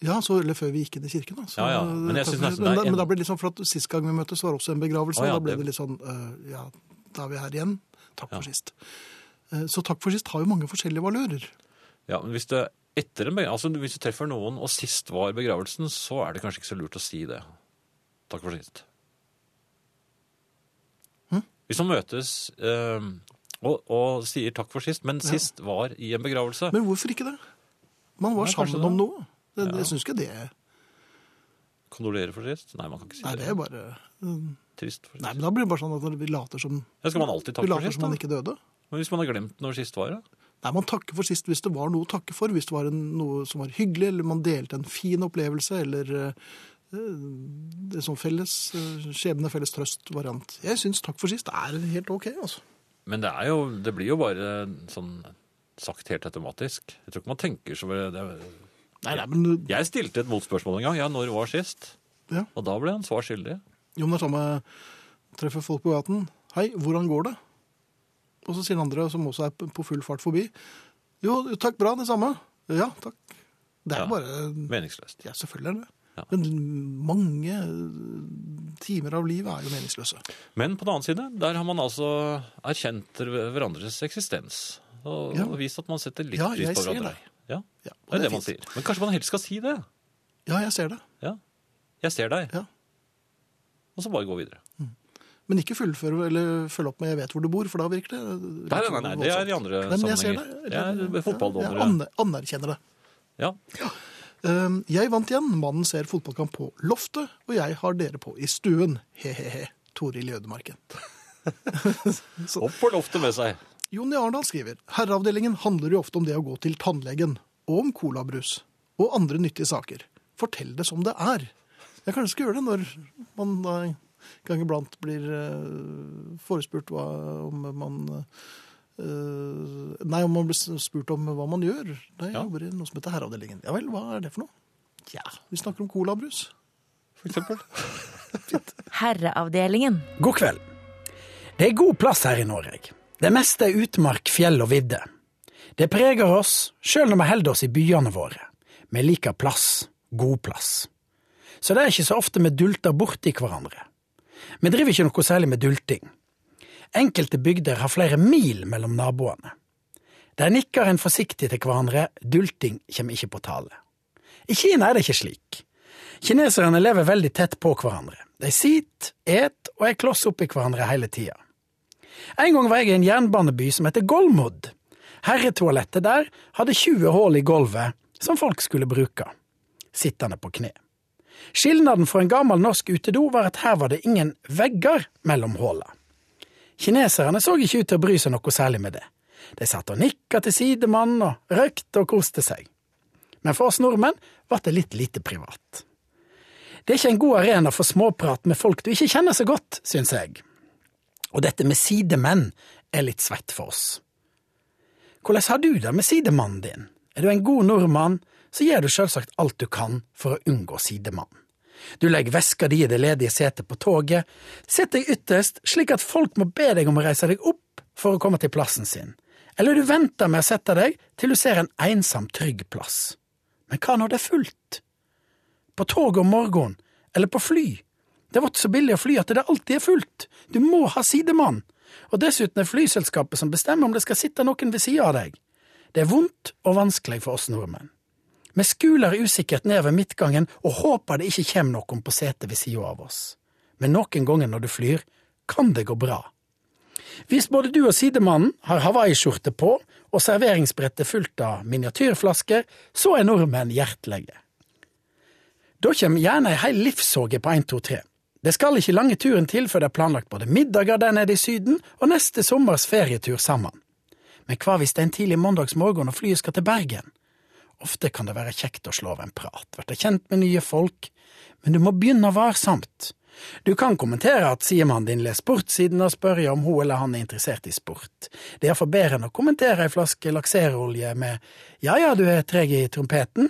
Speaker 1: Ja, så eller før vi gikk inn i kirken, da. Så,
Speaker 2: Ja, ja, men jeg synes nesten det er
Speaker 1: men, da,
Speaker 2: en-
Speaker 1: men da ble det litt sånn, for at sist gang vi møttes var det også en begravelse,
Speaker 2: Å, ja,
Speaker 1: og da ble
Speaker 2: det-
Speaker 1: det litt sånn øh, Ja, da er vi her igjen. Takk for sist. Eh, Så takk for sist har jo mange forskjellige valører.
Speaker 2: Ja, men hvis det etter en begra- altså hvis du treffer noen, og sist var begravelsen, så er det kanskje ikke så lurt å si det. Takk for sist.
Speaker 1: Hm?
Speaker 2: Hvis man møtes eh, og, og sier takk for sist, men sist var i en begravelse
Speaker 1: Men hvorfor ikke det? Man var
Speaker 2: Nei, kanskje
Speaker 1: sammen
Speaker 2: det.
Speaker 1: om noe. Det, Jeg syns ikke det Nei,
Speaker 2: Kondolerer for sist? Nei, man kan ikke si
Speaker 1: det er bare øh,
Speaker 2: Trist for sist.
Speaker 1: Nei, men da blir det bare sånn at vi later som
Speaker 2: Ja, skal man alltid
Speaker 1: Vi
Speaker 2: takke for
Speaker 1: later
Speaker 2: sist?
Speaker 1: som han
Speaker 2: Da?
Speaker 1: ikke døde.
Speaker 2: Men hvis man har glemt når sist var, da?
Speaker 1: Nei, Man takker for sist hvis det var noe å takke for. Hvis det var en, noe som var hyggelig, eller man delte en fin opplevelse, eller eh, en sånn felles eh, skjebne, felles trøst-variant. Jeg syns takk for sist er helt OK, altså.
Speaker 2: Men det, er jo, det blir jo bare sånn sagt helt automatisk. Jeg tror ikke man tenker så veldig- det.
Speaker 1: Nei, nei, men eh,
Speaker 2: Jeg stilte et motspørsmål en gang. Ja, når var sist?
Speaker 1: Ja.
Speaker 2: Og da ble han svar skyldig.
Speaker 1: jo, men det er samme treffer folk på gaten. Hei, hvordan går det? Og så sier den andre, som også er p- på full fart forbi, jo, takk, bra, det samme. Ja, takk. Det er
Speaker 2: Ja.
Speaker 1: bare
Speaker 2: Meningsløst.
Speaker 1: Ja, selvfølgelig er det.
Speaker 2: Ja.
Speaker 1: Men mange eh, timer av livet er jo meningsløse.
Speaker 2: Men på den annen side, der har man altså erkjent hver- hverandres eksistens. og,
Speaker 1: Ja.
Speaker 2: og vist at man setter litt
Speaker 1: Ja,
Speaker 2: pris
Speaker 1: jeg
Speaker 2: på
Speaker 1: ser
Speaker 2: hverandre.
Speaker 1: det.
Speaker 2: Ja,
Speaker 1: Ja,
Speaker 2: det er det man
Speaker 1: fint.
Speaker 2: sier. Men kanskje man helst skal si det.
Speaker 1: Ja, jeg ser det.
Speaker 2: Ja. Jeg ser deg.
Speaker 1: Ja.
Speaker 2: Og så bare gå videre.
Speaker 1: Men ikke fullføre eller følge opp med 'jeg vet hvor du bor', for da virker det
Speaker 2: Nei, nei, nei, nei, det er i andre
Speaker 1: Nei, men jeg ser det.
Speaker 2: sammenhenger. Jeg er
Speaker 1: Jeg
Speaker 2: fotballdommere.
Speaker 1: aner- anerkjenner det.
Speaker 2: Ja.
Speaker 1: Ehm, Jeg vant igjen. Mannen ser fotballkamp på loftet, og jeg har dere på i stuen. He-he-he. Toril i Ødemarken.
Speaker 2: Opp på loftet med seg.
Speaker 1: Jonny Arendal skriver Herreavdelingen handler jo ofte om det å gå til tannlegen, og om colabrus, og andre nyttige saker. Fortell det som det er. Jeg kanskje skal gjøre det når man da en gang iblant blir eh, forespurt hva, om man eh, Nei, om man blir spurt om hva man gjør. Nei, jeg
Speaker 2: Ja.
Speaker 1: jobber i noe som heter Herreavdelingen. Ja vel, hva er det for noe? Ja, vi snakker om colabrus.
Speaker 2: For eksempel.
Speaker 3: Herreavdelingen.
Speaker 4: God kveld. Det er god plass her i Norge. Det meste er utmark, fjell og vidde. Det preger oss, sjøl når vi holder oss i byene våre. Vi liker plass, god plass. Så det er ikke så ofte vi dulter borti hverandre. Vi driver ikke noe særlig med dulting. Enkelte bygder har flere mil mellom naboene. Der nikker en forsiktig til hverandre, dulting kommer ikke på tale. I Kina er det ikke slik. Kineserne lever veldig tett på hverandre. De sit, et og er kloss oppi hverandre hele tida. En gang var jeg i en jernbaneby som heter Golmod. Herretoalettet der hadde 20 hull i gulvet som folk skulle bruke, sittende på kne. Skilnaden fra en gammel norsk utedo var at her var det ingen vegger mellom hulla. Kineserne så ikke ut til å bry seg noe særlig med det. De satt og nikka til sidemannen og røykte og koste seg. Men for oss nordmenn ble det litt lite privat. Det er ikke en god arena for småprat med folk du ikke kjenner så godt, syns jeg. Og dette med sidemenn er litt svett for oss. Hvordan har du det med sidemannen din? Er du en god nordmann, så gjør du selvsagt alt du kan for å unngå sidemannen. Du legger veska di i det ledige setet på toget, sett deg ytterst slik at folk må be deg om å reise deg opp for å komme til plassen sin, eller du venter med å sette deg til du ser en ensom, trygg plass. Men hva når det er fullt? på tog om morgenen, eller på fly. Det var ikke så billig å fly at det alltid er fullt. Du må ha sidemann. Og dessuten er flyselskapet som bestemmer om det skal sitte noen ved sida av deg. Det er vondt og vanskelig for oss nordmenn. Vi skuler usikkert ned ved midtgangen og håper det ikke kommer noen på setet ved sida av oss. Men noen ganger når du flyr, kan det gå bra. Hvis både du og sidemannen har hawaiiskjorte på og serveringsbrettet fullt av miniatyrflasker, så er nordmenn hjertelige. Da kommer gjerne ei hel livssorge på 1, 2, 3. Det skal ikke lange turen til før det er planlagt både middager der nede i Syden og neste sommers ferietur sammen. Men hva hvis det er en tidlig mandagsmorgen og flyet skal til Bergen? Ofte kan det være kjekt å slå av en prat, bli kjent med nye folk, men du må begynne varsomt. Du kan kommentere at sidemannen din leser sportssiden og spørre om hun eller han er interessert i sport. Det er iallfall bedre enn å kommentere ei flaske lakserolje med ja ja, du er treg i trompeten.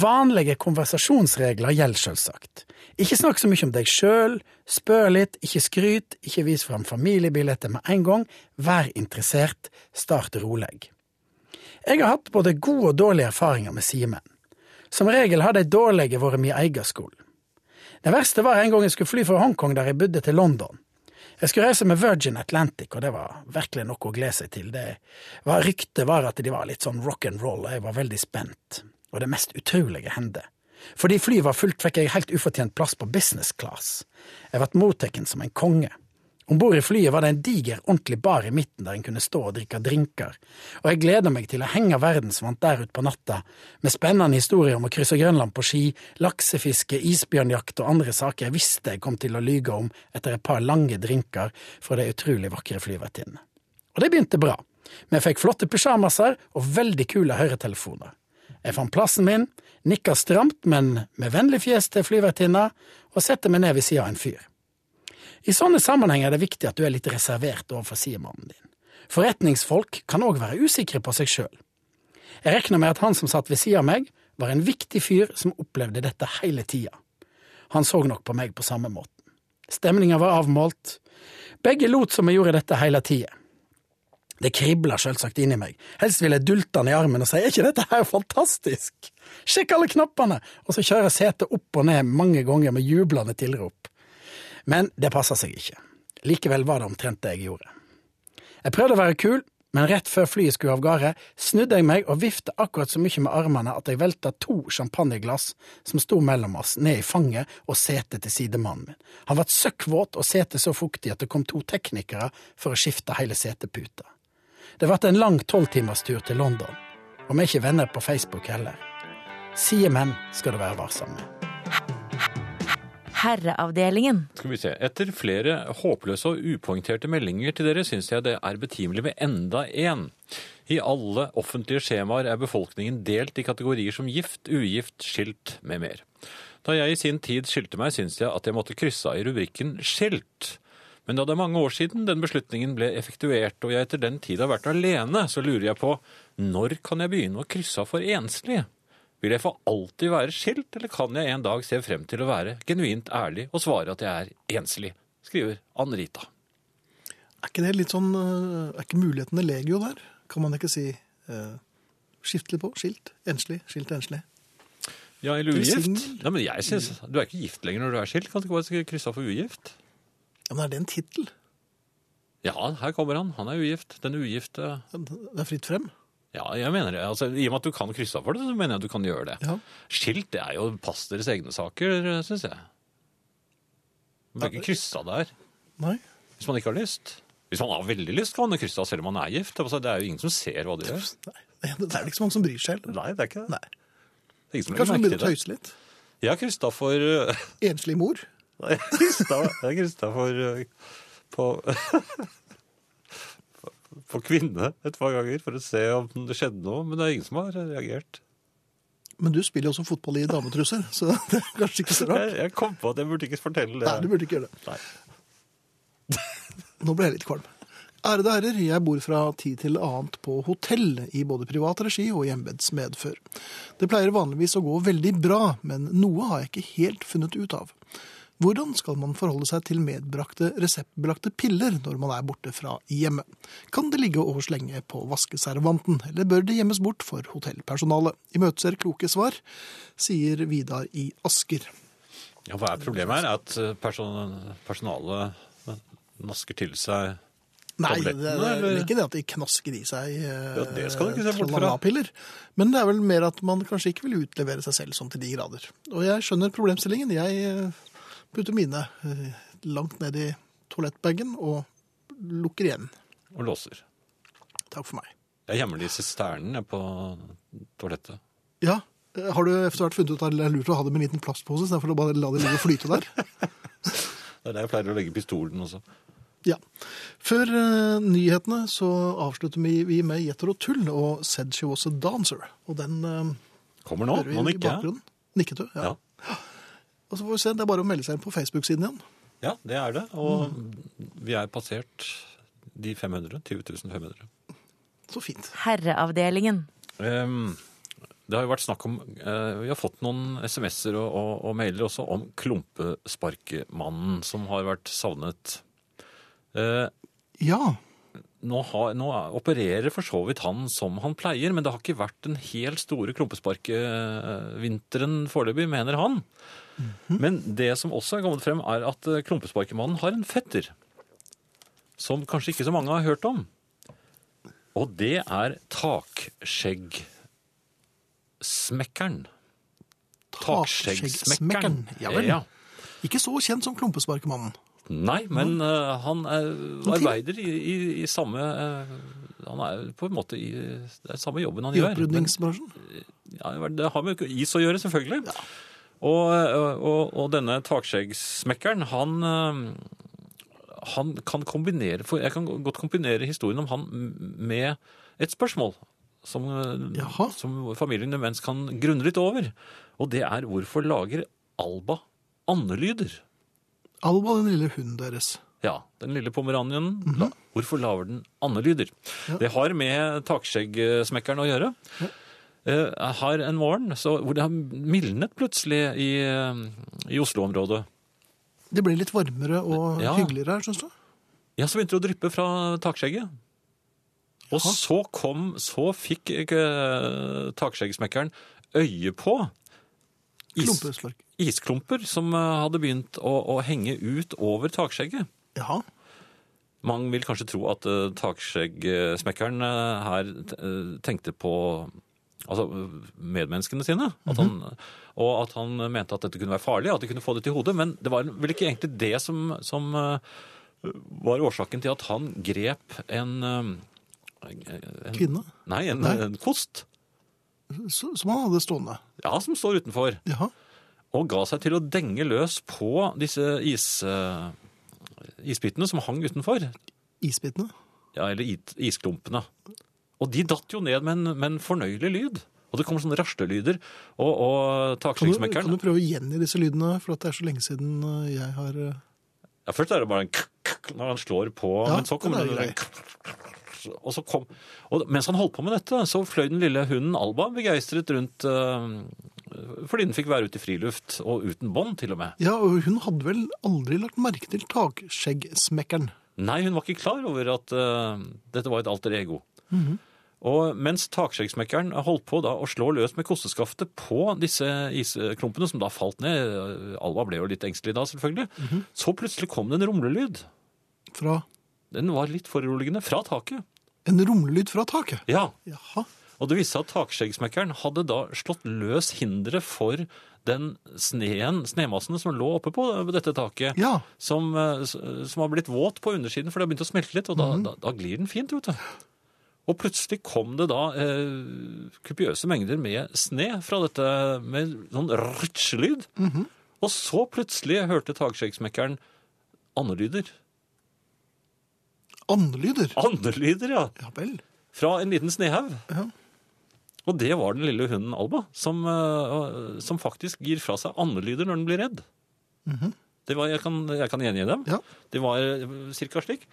Speaker 4: Vanlige konversasjonsregler gjelder selvsagt. Ikke snakk så mye om deg sjøl, spør litt, ikke skryt, ikke vis fram familiebilletter med en gang, vær interessert, start rolig. Jeg har hatt både gode og dårlige erfaringer med sidemenn. Som regel har de dårlige vært min egen skole. Det verste var en gang jeg skulle fly fra Hongkong, der jeg bodde, til London. Jeg skulle reise med Virgin Atlantic, og det var virkelig noe å glede seg til. Det var, ryktet var at de var litt sånn rock and roll, og jeg var veldig spent. Og det mest utrolige hendte. Fordi flyet var fullt, fikk jeg helt ufortjent plass på business class. Jeg ble mottatt som en konge. Om bord i flyet var det en diger, ordentlig bar i midten der en kunne stå og drikke drinker, og jeg gleda meg til å henge verdensvant der ute på natta, med spennende historier om å krysse Grønland på ski, laksefiske, isbjørnjakt og andre saker jeg visste jeg kom til å lyge om etter et par lange drinker fra de utrolig vakre flyvertinnene. Og det begynte bra. Vi fikk flotte pysjamaser og veldig kule høretelefoner. Jeg fant plassen min, nikka stramt, men med vennlig fjes til flyvertinna, og setter meg ned ved sida av en fyr. I sånne sammenhenger er det viktig at du er litt reservert overfor sidemannen din. Forretningsfolk kan òg være usikre på seg sjøl. Jeg regner med at han som satt ved sida av meg, var en viktig fyr som opplevde dette hele tida. Han så nok på meg på samme måten. Stemninga var avmålt. Begge lot som vi gjorde dette hele tida. Det kribler selvsagt inni meg. Helst vil jeg dulte han i armen og si er ikke dette her fantastisk? Sjekk alle knappene! Og så kjører setet opp og ned mange ganger med jublende tilrop. Men det passer seg ikke. Likevel var det omtrent det jeg gjorde. Jeg prøvde å være kul, Men rett før flyet skulle av gårde, snudde jeg meg og vifta akkurat så mye med armene at jeg velta to champagneglass som sto mellom oss, ned i fanget og setet til sidemannen min. Han vart søkkvåt og setet så fuktig at det kom to teknikere for å skifte hele seteputa. Det vart en lang tolvtimerstur til London, og vi er ikke venner på Facebook heller. Sier menn skal du være varsom med.
Speaker 3: Herreavdelingen.
Speaker 2: Skal vi se. Etter flere håpløse og upoengterte meldinger til dere, syns jeg det er betimelig med enda en. I alle offentlige skjemaer er befolkningen delt i kategorier som gift, ugift, skilt med mer. Da jeg i sin tid skilte meg, syns jeg at jeg måtte krysse av i rubrikken skilt. Men da det er mange år siden den beslutningen ble effektuert, og jeg etter den tid har vært alene, så lurer jeg på når kan jeg begynne å krysse av for enslige? Vil jeg for alltid være skilt, eller kan jeg en dag se frem til å være genuint ærlig og svare at jeg er enslig? Skriver Ann-Rita.
Speaker 1: Er ikke det litt sånn eh, Er ikke mulighetene legio der? Kan man ikke si eh, skiftelig på? Skilt? Enslig? Skilt? Enslig?
Speaker 2: Ja, eller
Speaker 1: Du er
Speaker 2: ugift?
Speaker 1: singel.
Speaker 2: Nei, men jeg synes, Du er ikke gift lenger når du er skilt. Kan du ikke bare krysse av for ugift?
Speaker 1: Ja, men er det en tittel?
Speaker 2: Ja, her kommer han. Han er ugift. Den ugifte
Speaker 1: Det er fritt frem?
Speaker 2: Ja, jeg mener det. Altså, I og med at du kan krysse av for det, så mener jeg at du kan gjøre det.
Speaker 1: Ja.
Speaker 2: Skilt det er jo pass deres egne saker, syns jeg. Man bør ikke krysse av der
Speaker 1: Nei?
Speaker 2: hvis man ikke har lyst. Hvis man har veldig lyst, kan man krysse av selv om man er gift. Altså, det er jo ingen som ser hva du gjør.
Speaker 1: Nei. Det er det ikke så mange som bryr seg heller.
Speaker 2: Nei, det er ikke det.
Speaker 1: Nei.
Speaker 2: Det er ingen som
Speaker 1: Kanskje
Speaker 2: legger
Speaker 1: man
Speaker 2: merke
Speaker 1: begynner å
Speaker 2: til det. eh,
Speaker 1: tøyse litt?
Speaker 2: Jeg har krysta for Jeg
Speaker 1: Enslig mor?
Speaker 2: har krysset- jeg har krysta for eh, på på kvinne et par ganger for å se om det skjedde noe, men det er ingen som har reagert.
Speaker 1: Men du spiller jo også fotball i dametrusser, så det er kanskje ikke så rart.
Speaker 2: Jeg, jeg kom på at jeg burde ikke fortelle det.
Speaker 1: Nei, du burde ikke gjøre det.
Speaker 2: Nei.
Speaker 1: Nå ble jeg litt kvalm. Ærede herrer, jeg bor fra tid til annet på hotell, i både privat regi og i embets medfør. Det pleier vanligvis å gå veldig bra, men noe har jeg ikke helt funnet ut av. Hvordan skal man forholde seg til medbrakte reseptbelagte piller når man er borte fra hjemmet? Kan det ligge og slenge på vaskeservanten, eller bør det gjemmes bort for hotellpersonalet? Imøteser kloke svar, sier Vidar i Asker.
Speaker 2: Ja, hva er problemet her? At eh, person, personalet eh, nasker til seg
Speaker 1: Nei, det,
Speaker 2: Tablettene,
Speaker 1: det er vel
Speaker 2: eller?
Speaker 1: ikke det at de knasker i seg ja,
Speaker 2: det skal du ikke se bort fra.
Speaker 1: piller Men det er vel mer at man kanskje ikke vil utlevere seg selv sånn til de grader. Og jeg skjønner problemstillingen. Jeg eh, putter mine eh, langt ned i toalettbagen og lukker igjen.
Speaker 2: og låser.
Speaker 1: Takk for meg.
Speaker 2: Jeg gjemmer det i sisternen jeg, på toalettet.
Speaker 1: Ja, eh, har du etter hvert funnet ut at det er lurt å ha det med en liten plastpose istedenfor å bare la det ligge og flyte der?
Speaker 2: Det er der jeg pleier å legge pistolen også.
Speaker 1: Ja. Før eh, nyhetene så avslutter vi, vi med Jetter og Tull og Said She Was A Dancer. Og den eh,
Speaker 2: Kommer nå,
Speaker 1: hører vi i
Speaker 2: når den ikke er.
Speaker 1: bakgrunnen. Nikket du?
Speaker 2: Ja.
Speaker 1: Og så får vi se, Det er bare å melde seg inn på Facebook-siden igjen.
Speaker 2: ja, det er det. Og vi er passert de 500. 20 500.
Speaker 1: Så fint.
Speaker 3: Herreavdelingen.
Speaker 2: Ehm, det har jo vært snakk om eh, Vi har fått noen SMS-er og, og, og mailer også om klumpesparkemannen som har vært savnet. Eh,
Speaker 1: Ja.
Speaker 2: nå, har, nå er- opererer for så vidt han som han pleier, men det har ikke vært den helt store klumpesparkevinteren foreløpig, mener han.
Speaker 1: Mhm.
Speaker 2: Men det som også er kommet frem, er at eh, klumpesparkemannen har en fetter. Som kanskje ikke så mange har hørt om. Og det er takskjeggsmekkeren. Takskjeggsmekkeren.
Speaker 1: Ja vel.
Speaker 2: Ja.
Speaker 1: Ikke så kjent som klumpesparkemannen.
Speaker 2: Nei, men eh, han er,
Speaker 1: Men til-
Speaker 2: arbeider i, i, i samme eh, Han er på en måte i det er samme jobben han
Speaker 1: I
Speaker 2: gjør. men-
Speaker 1: opprydningsbransjen.
Speaker 2: Ja, det har med is å gjøre, selvfølgelig. Og, eh, og, og denne takskjeggsmekkeren, han eh, han kan kombinere, for Jeg kan godt kombinere historien om han med et spørsmål som, eh,
Speaker 1: Jaha.
Speaker 2: som familien demens kan grunne litt over. Og det er hvorfor lager Alba andelyder?
Speaker 1: Alba, den lille hunden deres.
Speaker 2: Ja, den lille pomeranien. la- Hvorfor lager den andelyder? Det har med takskjeggsmekkeren å gjøre. Eh, her en morgen så, hvor det har mildnet plutselig i, eh, i Oslo-området.
Speaker 1: Det blir litt varmere og
Speaker 2: Ja.
Speaker 1: hyggeligere her, syns du?
Speaker 2: Ja, så begynte det å dryppe fra takskjegget. Og så kom, så fikk eh, takskjeggsmekkeren øye på is,
Speaker 1: Klumpespark.
Speaker 2: isklumper som eh, hadde begynt å, å henge ut over takskjegget.
Speaker 1: Jaha.
Speaker 2: Man vil kanskje tro at uh, takskjeggsmekkeren eh, her eh, tenkte på altså, eh, medmenneskene sine. At han, Og at han mente at dette kunne være farlig, at de kunne få det til hodet. Men det var vel ikke egentlig det som, som eh, var årsaken til at han grep en, eh, en
Speaker 1: Kvinne
Speaker 2: Nei, en,
Speaker 1: Nei.
Speaker 2: en kost.
Speaker 1: så- som han hadde stående.
Speaker 2: Ja, som står utenfor.
Speaker 1: Ja.
Speaker 2: og ga seg til å denge løs på disse is, eh, isbitene som hang utenfor.
Speaker 1: Isbitene.
Speaker 2: Ja, eller it, isklumpene. Og de datt jo ned med en, med en fornøyelig lyd. Og det kom sånne raslelyder. Og, og
Speaker 1: Kan du, kan du
Speaker 2: takskinksmekkeren
Speaker 1: prøve å gjengi disse lydene, for at det er så lenge siden eh, jeg har eh,
Speaker 2: ja, Først er det bare en k-k-k når han slår på,
Speaker 1: Ja,
Speaker 2: men så kommer
Speaker 1: den er
Speaker 2: det en k-k-k. og så kom, og mens han holdt på med dette, så fløy den lille hunden Alba begeistret rundt eh, fordi den fikk være ute i friluft, og uten bånd til og med.
Speaker 1: Ja, og hun hadde vel aldri lagt merke til takskjeggsmekkeren.
Speaker 2: Nei, hun var ikke klar over at eh, dette var et alter ego. Og mens takskjeggsmekkeren holdt på da å slå løs med kosteskaftet på disse isklumpene, som da falt ned, eh, Alva ble jo litt engstelig da selvfølgelig, så plutselig kom det en rumlelyd.
Speaker 1: Fra
Speaker 2: Den var litt foruroligende fra taket.
Speaker 1: en romlyd fra taket.
Speaker 2: Ja,
Speaker 1: Jaha.
Speaker 2: og det viste seg at takskjeggsmekkeren hadde da slått løs hindre for den sneen, snemassen som lå oppe på dette taket,
Speaker 1: Ja.
Speaker 2: som, eh, s- som har blitt våt på undersiden, for det har begynt å smelte litt, og da, da, da glir den fint, vet du. Og plutselig kom det da eh, kupiøse mengder med sne fra dette, med sånn rutsch-lyd. Og så plutselig hørte tagskjeggsmekkeren andelyder.
Speaker 1: Andelyder.
Speaker 2: Andelyder, ja!
Speaker 1: Ja vel.
Speaker 2: Fra en liten snehaug.
Speaker 1: Ja.
Speaker 2: Og det var den lille hunden Alba, som, eh, som faktisk gir fra seg andelyder når den blir redd. det var, jeg, kan, jeg kan gjengi dem.
Speaker 1: Mhm. Ja.
Speaker 2: Det var eh, cirka slik.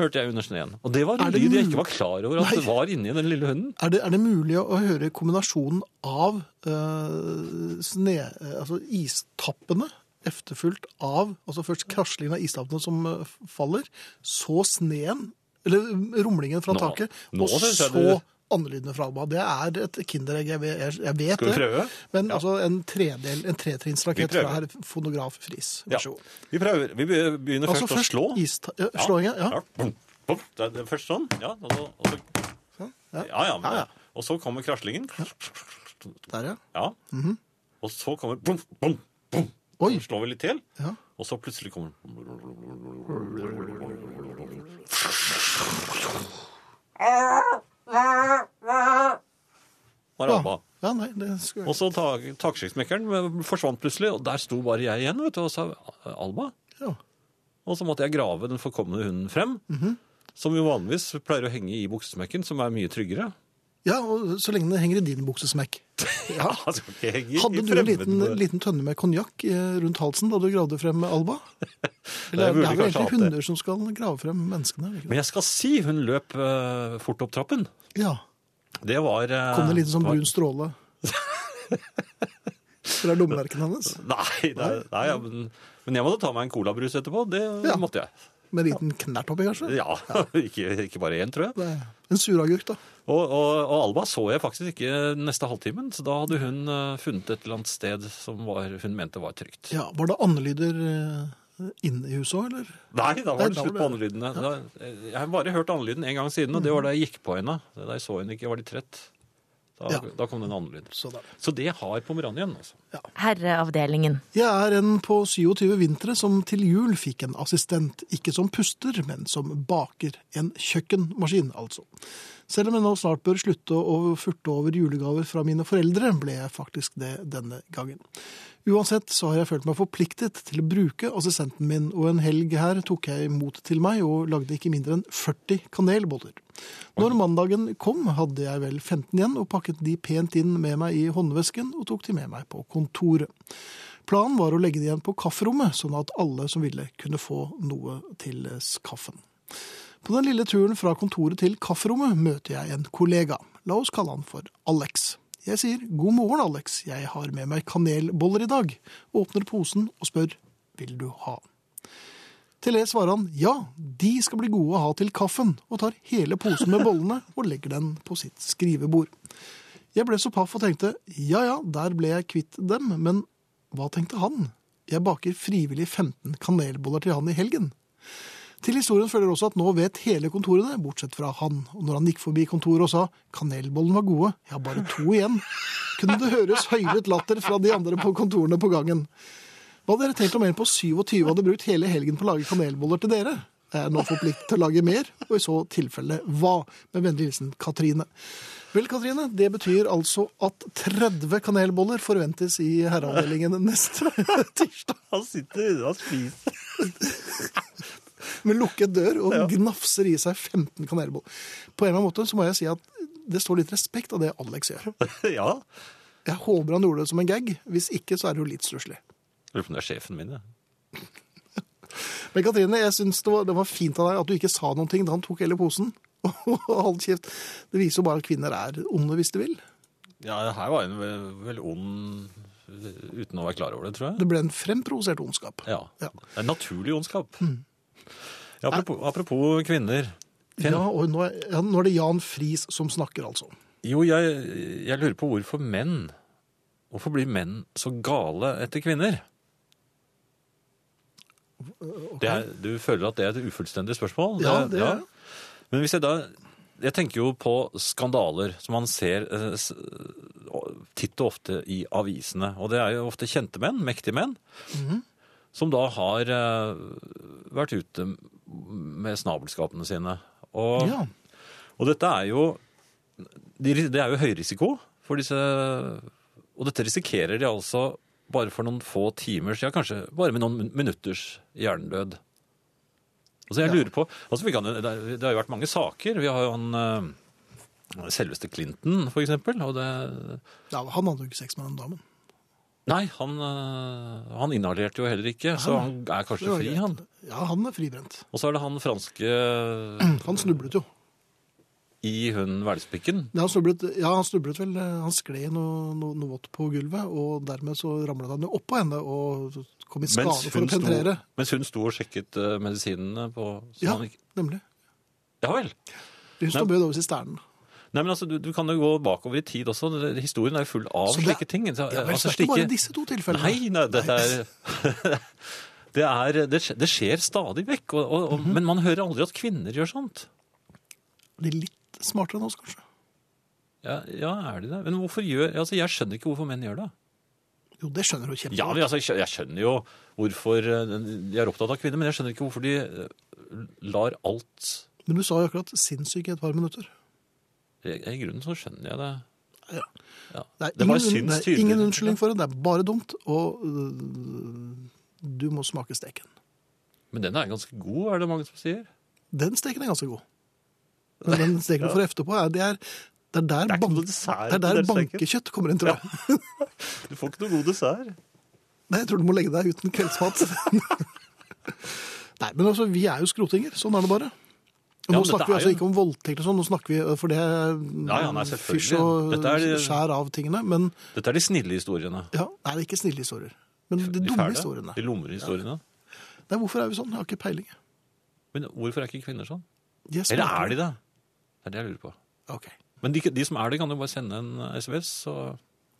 Speaker 2: Hørte jeg under sneen. Og det var en
Speaker 1: Er det
Speaker 2: lyd jeg
Speaker 1: mul-
Speaker 2: ikke var klar over at
Speaker 1: Nei.
Speaker 2: det var inni den lille hunden.
Speaker 1: Er det, er det mulig å, å høre kombinasjonen av eh, sne, eh, altså istappene, efterfulgt av altså først kraslingen av istappene som eh, faller, så sneen, eller mm, rumlingen fra
Speaker 2: Nå-
Speaker 1: taket,
Speaker 2: nå
Speaker 1: og
Speaker 2: synes jeg
Speaker 1: så
Speaker 2: du-
Speaker 1: andelydene fra Alba. Det er et kinderegg, jeg, vet- jeg, jeg vet
Speaker 2: Skal vi
Speaker 1: det.
Speaker 2: prøve?
Speaker 1: Men
Speaker 2: Ja.
Speaker 1: altså en, tredel, en
Speaker 2: Vi
Speaker 1: tretrinnsrakett
Speaker 2: prøver.
Speaker 1: fra herr fonograf Friis.
Speaker 2: Ja.
Speaker 1: Vær så god.
Speaker 2: Vi prøver. Vi begynner
Speaker 1: Altså
Speaker 2: først, å slå.
Speaker 1: ista- ja, slåingen, ja.
Speaker 2: Bum, bum. Det er det er først sånn. Ja, og så, og så,
Speaker 1: Sånn, ja.
Speaker 2: ja, ja,
Speaker 1: Ja, ja.
Speaker 2: Og så kommer kraslingen.
Speaker 1: Der, ja.
Speaker 2: Ja. Og så kommer bum, bum, bum.
Speaker 1: Mhm. Oi.
Speaker 2: Så slår vi litt til,
Speaker 1: Ja.
Speaker 2: og så plutselig kommer Var
Speaker 1: Ja.
Speaker 2: Alba.
Speaker 1: ja, nei, det skulle
Speaker 2: Og
Speaker 1: jeg
Speaker 2: så tak- takskiftsmekkeren forsvant plutselig, og der sto bare jeg igjen, vet du, og sa Alba.
Speaker 1: ikke. Ja.
Speaker 2: Og så måtte jeg grave den forkomne hunden frem,
Speaker 1: Mhm.
Speaker 2: som jo vanligvis pleier å henge i buksesmekken, som er mye tryggere.
Speaker 1: Ja, og så lenge det henger i din buksesmekk. Ja.
Speaker 2: Han skal ikke henge Altså, i
Speaker 1: Hadde du en liten,
Speaker 2: fremmede-
Speaker 1: liten tønne med konjakk eh, rundt halsen da du gravde frem Alba?
Speaker 2: Nei,
Speaker 1: Eller det er
Speaker 2: jeg burde
Speaker 1: vel
Speaker 2: kanskje
Speaker 1: egentlig
Speaker 2: hatt det.
Speaker 1: hunder som skal grave frem menneskene? er det ikke det?
Speaker 2: Men jeg skal si hun løp eh, fort opp trappen.
Speaker 1: Ja.
Speaker 2: Det var eh,
Speaker 1: Kom det en liten sånn
Speaker 2: var-
Speaker 1: brun stråle fra lommelerken hennes?
Speaker 2: Nei, det, er- nei ja, men, men jeg måtte ta meg en colabrus etterpå. Det
Speaker 1: Ja.
Speaker 2: måtte jeg.
Speaker 1: Med en liten knert oppi, kanskje?
Speaker 2: Ja, ikke, ikke bare én, tror jeg.
Speaker 1: Det er En suragurk, da.
Speaker 2: Og, og, og Alba så jeg faktisk ikke den neste halvtimen, så da hadde hun eh, funnet et eller annet sted som var, hun mente var trygt.
Speaker 1: Ja, Var det andelyder eh, inne i huset òg, eller?
Speaker 2: Nei, da
Speaker 1: Nei,
Speaker 2: var det
Speaker 1: da
Speaker 2: slutt på
Speaker 1: var
Speaker 2: andelydene. Da- eh, Jeg har bare hørt andelyden én gang siden, og det var da jeg gikk på henne. Da jeg så henne ikke, jeg var litt trett. Da,
Speaker 1: Ja.
Speaker 2: da kom det en annen lyd.
Speaker 1: Så da.
Speaker 2: Så det har Pomeranien, altså.
Speaker 3: Herreavdelingen.
Speaker 1: Jeg er en på 27 vintre som til jul fikk en assistent, ikke som puster, men som baker. En kjøkkenmaskin, altså. Selv om jeg nå snart bør slutte å furte over julegaver fra mine foreldre, ble jeg faktisk det denne gangen. Uansett så har jeg følt meg forpliktet til å bruke assistenten min, og en helg her tok jeg imot til meg og lagde ikke mindre enn 40 kanelboller. Når mandagen kom, hadde jeg vel 15 igjen og pakket de pent inn med meg i håndvesken og tok de med meg på kontoret. Planen var å legge det igjen på kafferommet, sånn at alle som ville kunne få noe til kaffen. På den lille turen fra kontoret til kafferommet møter jeg en kollega. La oss kalle han for Alex. Jeg sier god morgen, Alex, jeg har med meg kanelboller i dag. Åpner posen og spør vil du ha. Til det svarer han ja, de skal bli gode å ha til kaffen, og tar hele posen med bollene og legger den på sitt skrivebord. Jeg ble så paff og tenkte ja ja, der ble jeg kvitt dem, men hva tenkte han? Jeg baker frivillig 15 kanelboller til han i helgen. Til historien følger også at nå vet hele kontorene, bortsett fra han. Og når han gikk forbi kontoret og sa 'kanelbollene var gode, jeg har bare to igjen', kunne det høres høylytt latter fra de andre på kontorene på gangen. Hva hadde dere tenkt om en på 27 hadde brukt hele helgen på å lage kanelboller til dere? Jeg er nå forpliktet til å lage mer, og i så tilfelle hva? Med vennlig hilsen Katrine. Vel, Katrine, det betyr altså at 30 kanelboller forventes i herreavdelingen neste tirsdag.
Speaker 2: Han sitter og spiser.
Speaker 1: Med lukket dør og gnafser i seg 15 kanelboller. På en eller annen måte så må jeg si at det står litt respekt av det Alex gjør.
Speaker 2: ja.
Speaker 1: Jeg håper han gjorde det som en gag. Hvis ikke, så er det jo litt stusslig.
Speaker 2: Lurer på om det er sjefen min, jeg.
Speaker 1: Men Katrine, jeg synes det var, det var fint av deg at du ikke sa noen ting da han tok hele posen. Og hold kjeft. Det viser jo bare at kvinner er onde hvis de vil.
Speaker 2: Ja, det her var en vel, vel ond uten å være klar over det, tror jeg.
Speaker 1: Det ble en fremprovosert ondskap.
Speaker 2: Ja. Mm.
Speaker 1: Ja.
Speaker 2: Det er naturlig ondskap. Ja, apropos, apropos kvinner. Finn.
Speaker 1: Ja, og nå er, ja, nå er det Jan Friis som snakker, altså.
Speaker 2: Jo, jeg, jeg lurer på hvorfor menn Hvorfor blir menn så gale etter kvinner? Det er, du føler at det er et ufullstendig spørsmål?
Speaker 1: Ja, det er det.
Speaker 2: Men hvis jeg da Jeg tenker jo på skandaler som man ser eh, s- og- titt og ofte i avisene. Og det er jo ofte kjente menn, mektige menn, som da har eh, vært ute med snabelskapene sine. Og
Speaker 1: Ja.
Speaker 2: og dette er jo de- Det er jo høy risiko for disse Og dette risikerer de altså bare for noen få timers, ja kanskje bare med noen min- minutters hjernedød. Altså jeg lurer på, altså vi kan, jo- det er- det har jo vært mange saker. Vi har jo han eh, selveste Clinton, for eksempel. Og det,
Speaker 1: ja han hadde jo ikke sex med den damen.
Speaker 2: nei, han, eh, han inhalerte jo heller ikke, så han er
Speaker 1: Det var
Speaker 2: kanskje fri,
Speaker 1: greit.
Speaker 2: han.
Speaker 1: Ja, han er fribrent.
Speaker 2: Og så er det han franske
Speaker 1: Han snublet jo.
Speaker 2: i hun hvelspikken.
Speaker 1: Ja, han snublet, ja, han snublet vel. eh, Han skled noe, noe, noe vått på gulvet, og dermed så ramlet han jo oppå henne og kom i skade
Speaker 2: Mens
Speaker 1: for
Speaker 2: hun,
Speaker 1: å
Speaker 2: sto,
Speaker 1: penetrere.
Speaker 2: mens hun sto og sjekket eh, medisinene på så
Speaker 1: Ja,
Speaker 2: han ikke-
Speaker 1: nemlig.
Speaker 2: ja vel.
Speaker 1: Hun
Speaker 2: Nei.
Speaker 1: står bøyd over sisternen.
Speaker 2: Nei, men altså, du, du kan jo gå bakover i tid også. Det- Historien er jo full av
Speaker 1: Så det-
Speaker 2: slike ting. Så,
Speaker 1: Ja, vel, så
Speaker 2: altså,
Speaker 1: er det ikke bare
Speaker 2: slike...
Speaker 1: disse to tilfellene.
Speaker 2: Nei, nei, dette er... Det, er, det, skje- det skjer stadig vekk, og, og, og,
Speaker 1: Mhm.
Speaker 2: men man hører aldri at kvinner gjør sånt.
Speaker 1: De er litt smartere enn oss, kanskje.
Speaker 2: Ja, ja er de det? Men hvorfor gjør Altså, jeg skjønner ikke hvorfor menn gjør det.
Speaker 1: Jo, det skjønner du
Speaker 2: Ja,
Speaker 1: kjempegodt.
Speaker 2: men altså, jeg skjø- jeg skjønner jo hvorfor eh, de er opptatt av kvinner, men jeg skjønner ikke hvorfor de eh, lar alt
Speaker 1: Men du sa jo akkurat sinnssyk i et par minutter.
Speaker 2: I i grunnen så skjønner jeg det.
Speaker 1: Ja.
Speaker 2: Ja.
Speaker 1: Det er,
Speaker 2: Det bare
Speaker 1: ingen,
Speaker 2: syns
Speaker 1: det er
Speaker 2: tydelig.
Speaker 1: ingen unnskyldning for det, det er bare dumt. Og øh, du må smake steken.
Speaker 2: Men den er ganske god, er det mange som sier.
Speaker 1: Den steken er ganske god. Men den steken du får efte på, er, det, er, det er der,
Speaker 2: Det er ikke
Speaker 1: bank-
Speaker 2: noe dessert
Speaker 1: det er
Speaker 2: i
Speaker 1: der
Speaker 2: den steken.
Speaker 1: bankekjøtt kommer inn, tror jeg.
Speaker 2: Du får ikke noe god dessert.
Speaker 1: Nei, jeg tror du må legge deg uten kveldsmat. Nei, men altså, vi er jo skrotinger. Sånn er det bare. Og nå
Speaker 2: Ja, men dette
Speaker 1: snakker vi
Speaker 2: er
Speaker 1: altså
Speaker 2: jo-
Speaker 1: ikke om voldtekt og sånn, nå snakker vi øh, for det øh,
Speaker 2: Ja, ja, nei, selvfølgelig.
Speaker 1: fysj og
Speaker 2: Dette er de-
Speaker 1: skjær av tingene. Men
Speaker 2: Dette er de snille historiene.
Speaker 1: ja, nei, det er ikke snille historier. Men de,
Speaker 2: De
Speaker 1: dumme
Speaker 2: fæle.
Speaker 1: historiene.
Speaker 2: De lumre historiene.
Speaker 1: Nei, hvorfor er vi sånn? Jeg har ikke peiling.
Speaker 2: Men hvorfor er ikke kvinner sånn?
Speaker 1: De er
Speaker 2: Eller er de det? Det er det jeg lurer på.
Speaker 1: Ok.
Speaker 2: Men de, de som er det, kan jo bare sende en eh, SMS. Så.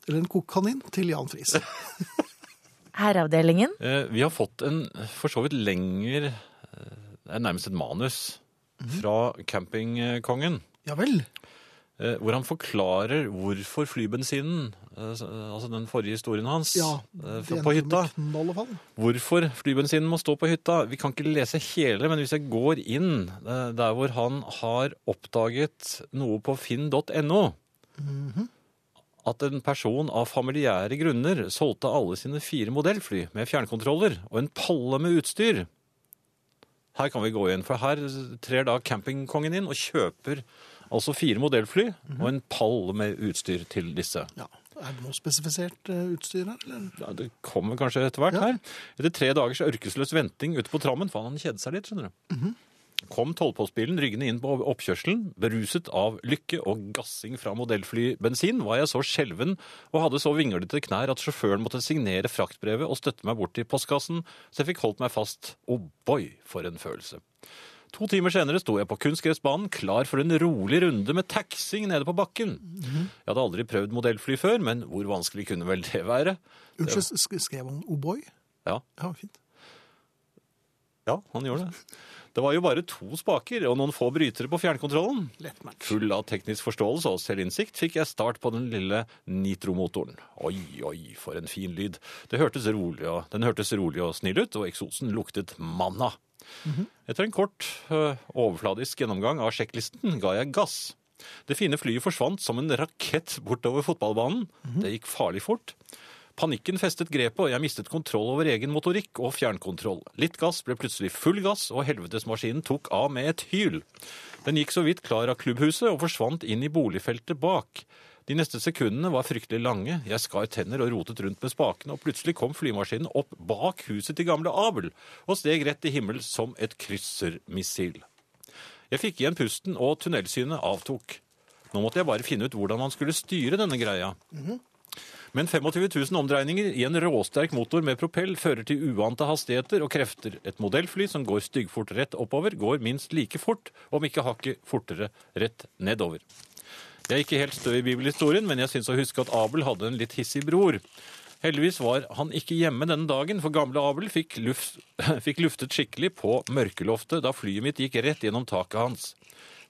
Speaker 1: Eller en kokkanin til Jan Friis.
Speaker 3: Herreavdelingen.
Speaker 2: Eh, vi har fått en for så vidt lenger eh, Det er nærmest et manus fra campingkongen.
Speaker 1: Ja vel.
Speaker 2: eh, Hvor han forklarer hvorfor flybensinen, eh, s- eh, altså den forrige historien hans,
Speaker 1: Ja,
Speaker 2: eh,
Speaker 1: det
Speaker 2: fra,
Speaker 1: endte
Speaker 2: på
Speaker 1: med
Speaker 2: hytta
Speaker 1: Knall og fall.
Speaker 2: Hvorfor flybensinen må stå på hytta? Vi kan ikke lese hele, men hvis jeg går inn eh, der hvor han har oppdaget noe på finn.no At en person av familiære grunner solgte alle sine fire modellfly med fjernkontroller og en palle med utstyr. Her kan vi gå igjen, for her trer da campingkongen inn og kjøper altså fire modellfly og en pall med utstyr til disse.
Speaker 1: Ja. Er det noe spesifisert eh, utstyr her, eller?
Speaker 2: Ja, det kommer kanskje etter hvert
Speaker 1: Ja.
Speaker 2: her. Etter tre dagers ørkesløs venting ute på trammen, for han kjedet seg litt, skjønner du. Kom tollpostbilen ryggende inn på oppkjørselen, beruset av lykke og gassing fra modellflybensin, var jeg så skjelven og hadde så vinglete knær at sjåføren måtte signere fraktbrevet og støtte meg bort til postkassen, så jeg fikk holdt meg fast. Oh boy, for en følelse. To timer senere sto jeg på kunstgressbanen klar for en rolig runde med taxing nede på bakken. Jeg hadde aldri prøvd modellfly før, men hvor vanskelig kunne vel det være?
Speaker 1: Unnskyld, sk- skrev han O'boy?
Speaker 2: Ja.
Speaker 1: Ja, fint.
Speaker 2: ja, han gjorde det. Det var jo bare to spaker og noen få brytere på fjernkontrollen.
Speaker 1: Lett match.
Speaker 2: Full av teknisk forståelse og selvinnsikt fikk jeg start på den lille nitromotoren. Oi, oi, for en fin lyd. Det hørtes rolig og, den hørtes rolig og snill ut, og eksosen luktet manna. Etter en kort, øh, overfladisk gjennomgang av sjekklisten ga jeg gass. Det fine flyet forsvant som en rakett bortover fotballbanen. Det gikk farlig fort. Panikken festet grepet, og jeg mistet kontroll over egen motorikk og fjernkontroll. Litt gass ble plutselig full gass, og helvetesmaskinen tok av med et hyl. Den gikk så vidt klar av klubbhuset og forsvant inn i boligfeltet bak. De neste sekundene var fryktelig lange. Jeg skar tenner og rotet rundt med spakene, og plutselig kom flymaskinen opp bak huset til gamle Abel og steg rett til himmels som et kryssermissil. Jeg fikk igjen pusten, og tunnelsynet avtok. Nå måtte jeg bare finne ut hvordan man skulle styre denne greia. Men 25 000 omdreininger i en råsterk motor med propell fører til uante hastigheter og krefter. Et modellfly som går styggfort rett oppover, går minst like fort, om ikke hakket fortere, rett nedover. Jeg er ikke helt stø i bibelhistorien, men jeg syns å huske at Abel hadde en litt hissig bror. Heldigvis var han ikke hjemme denne dagen, for gamle Abel fikk, luft, fikk luftet skikkelig på mørkeloftet da flyet mitt gikk rett gjennom taket hans.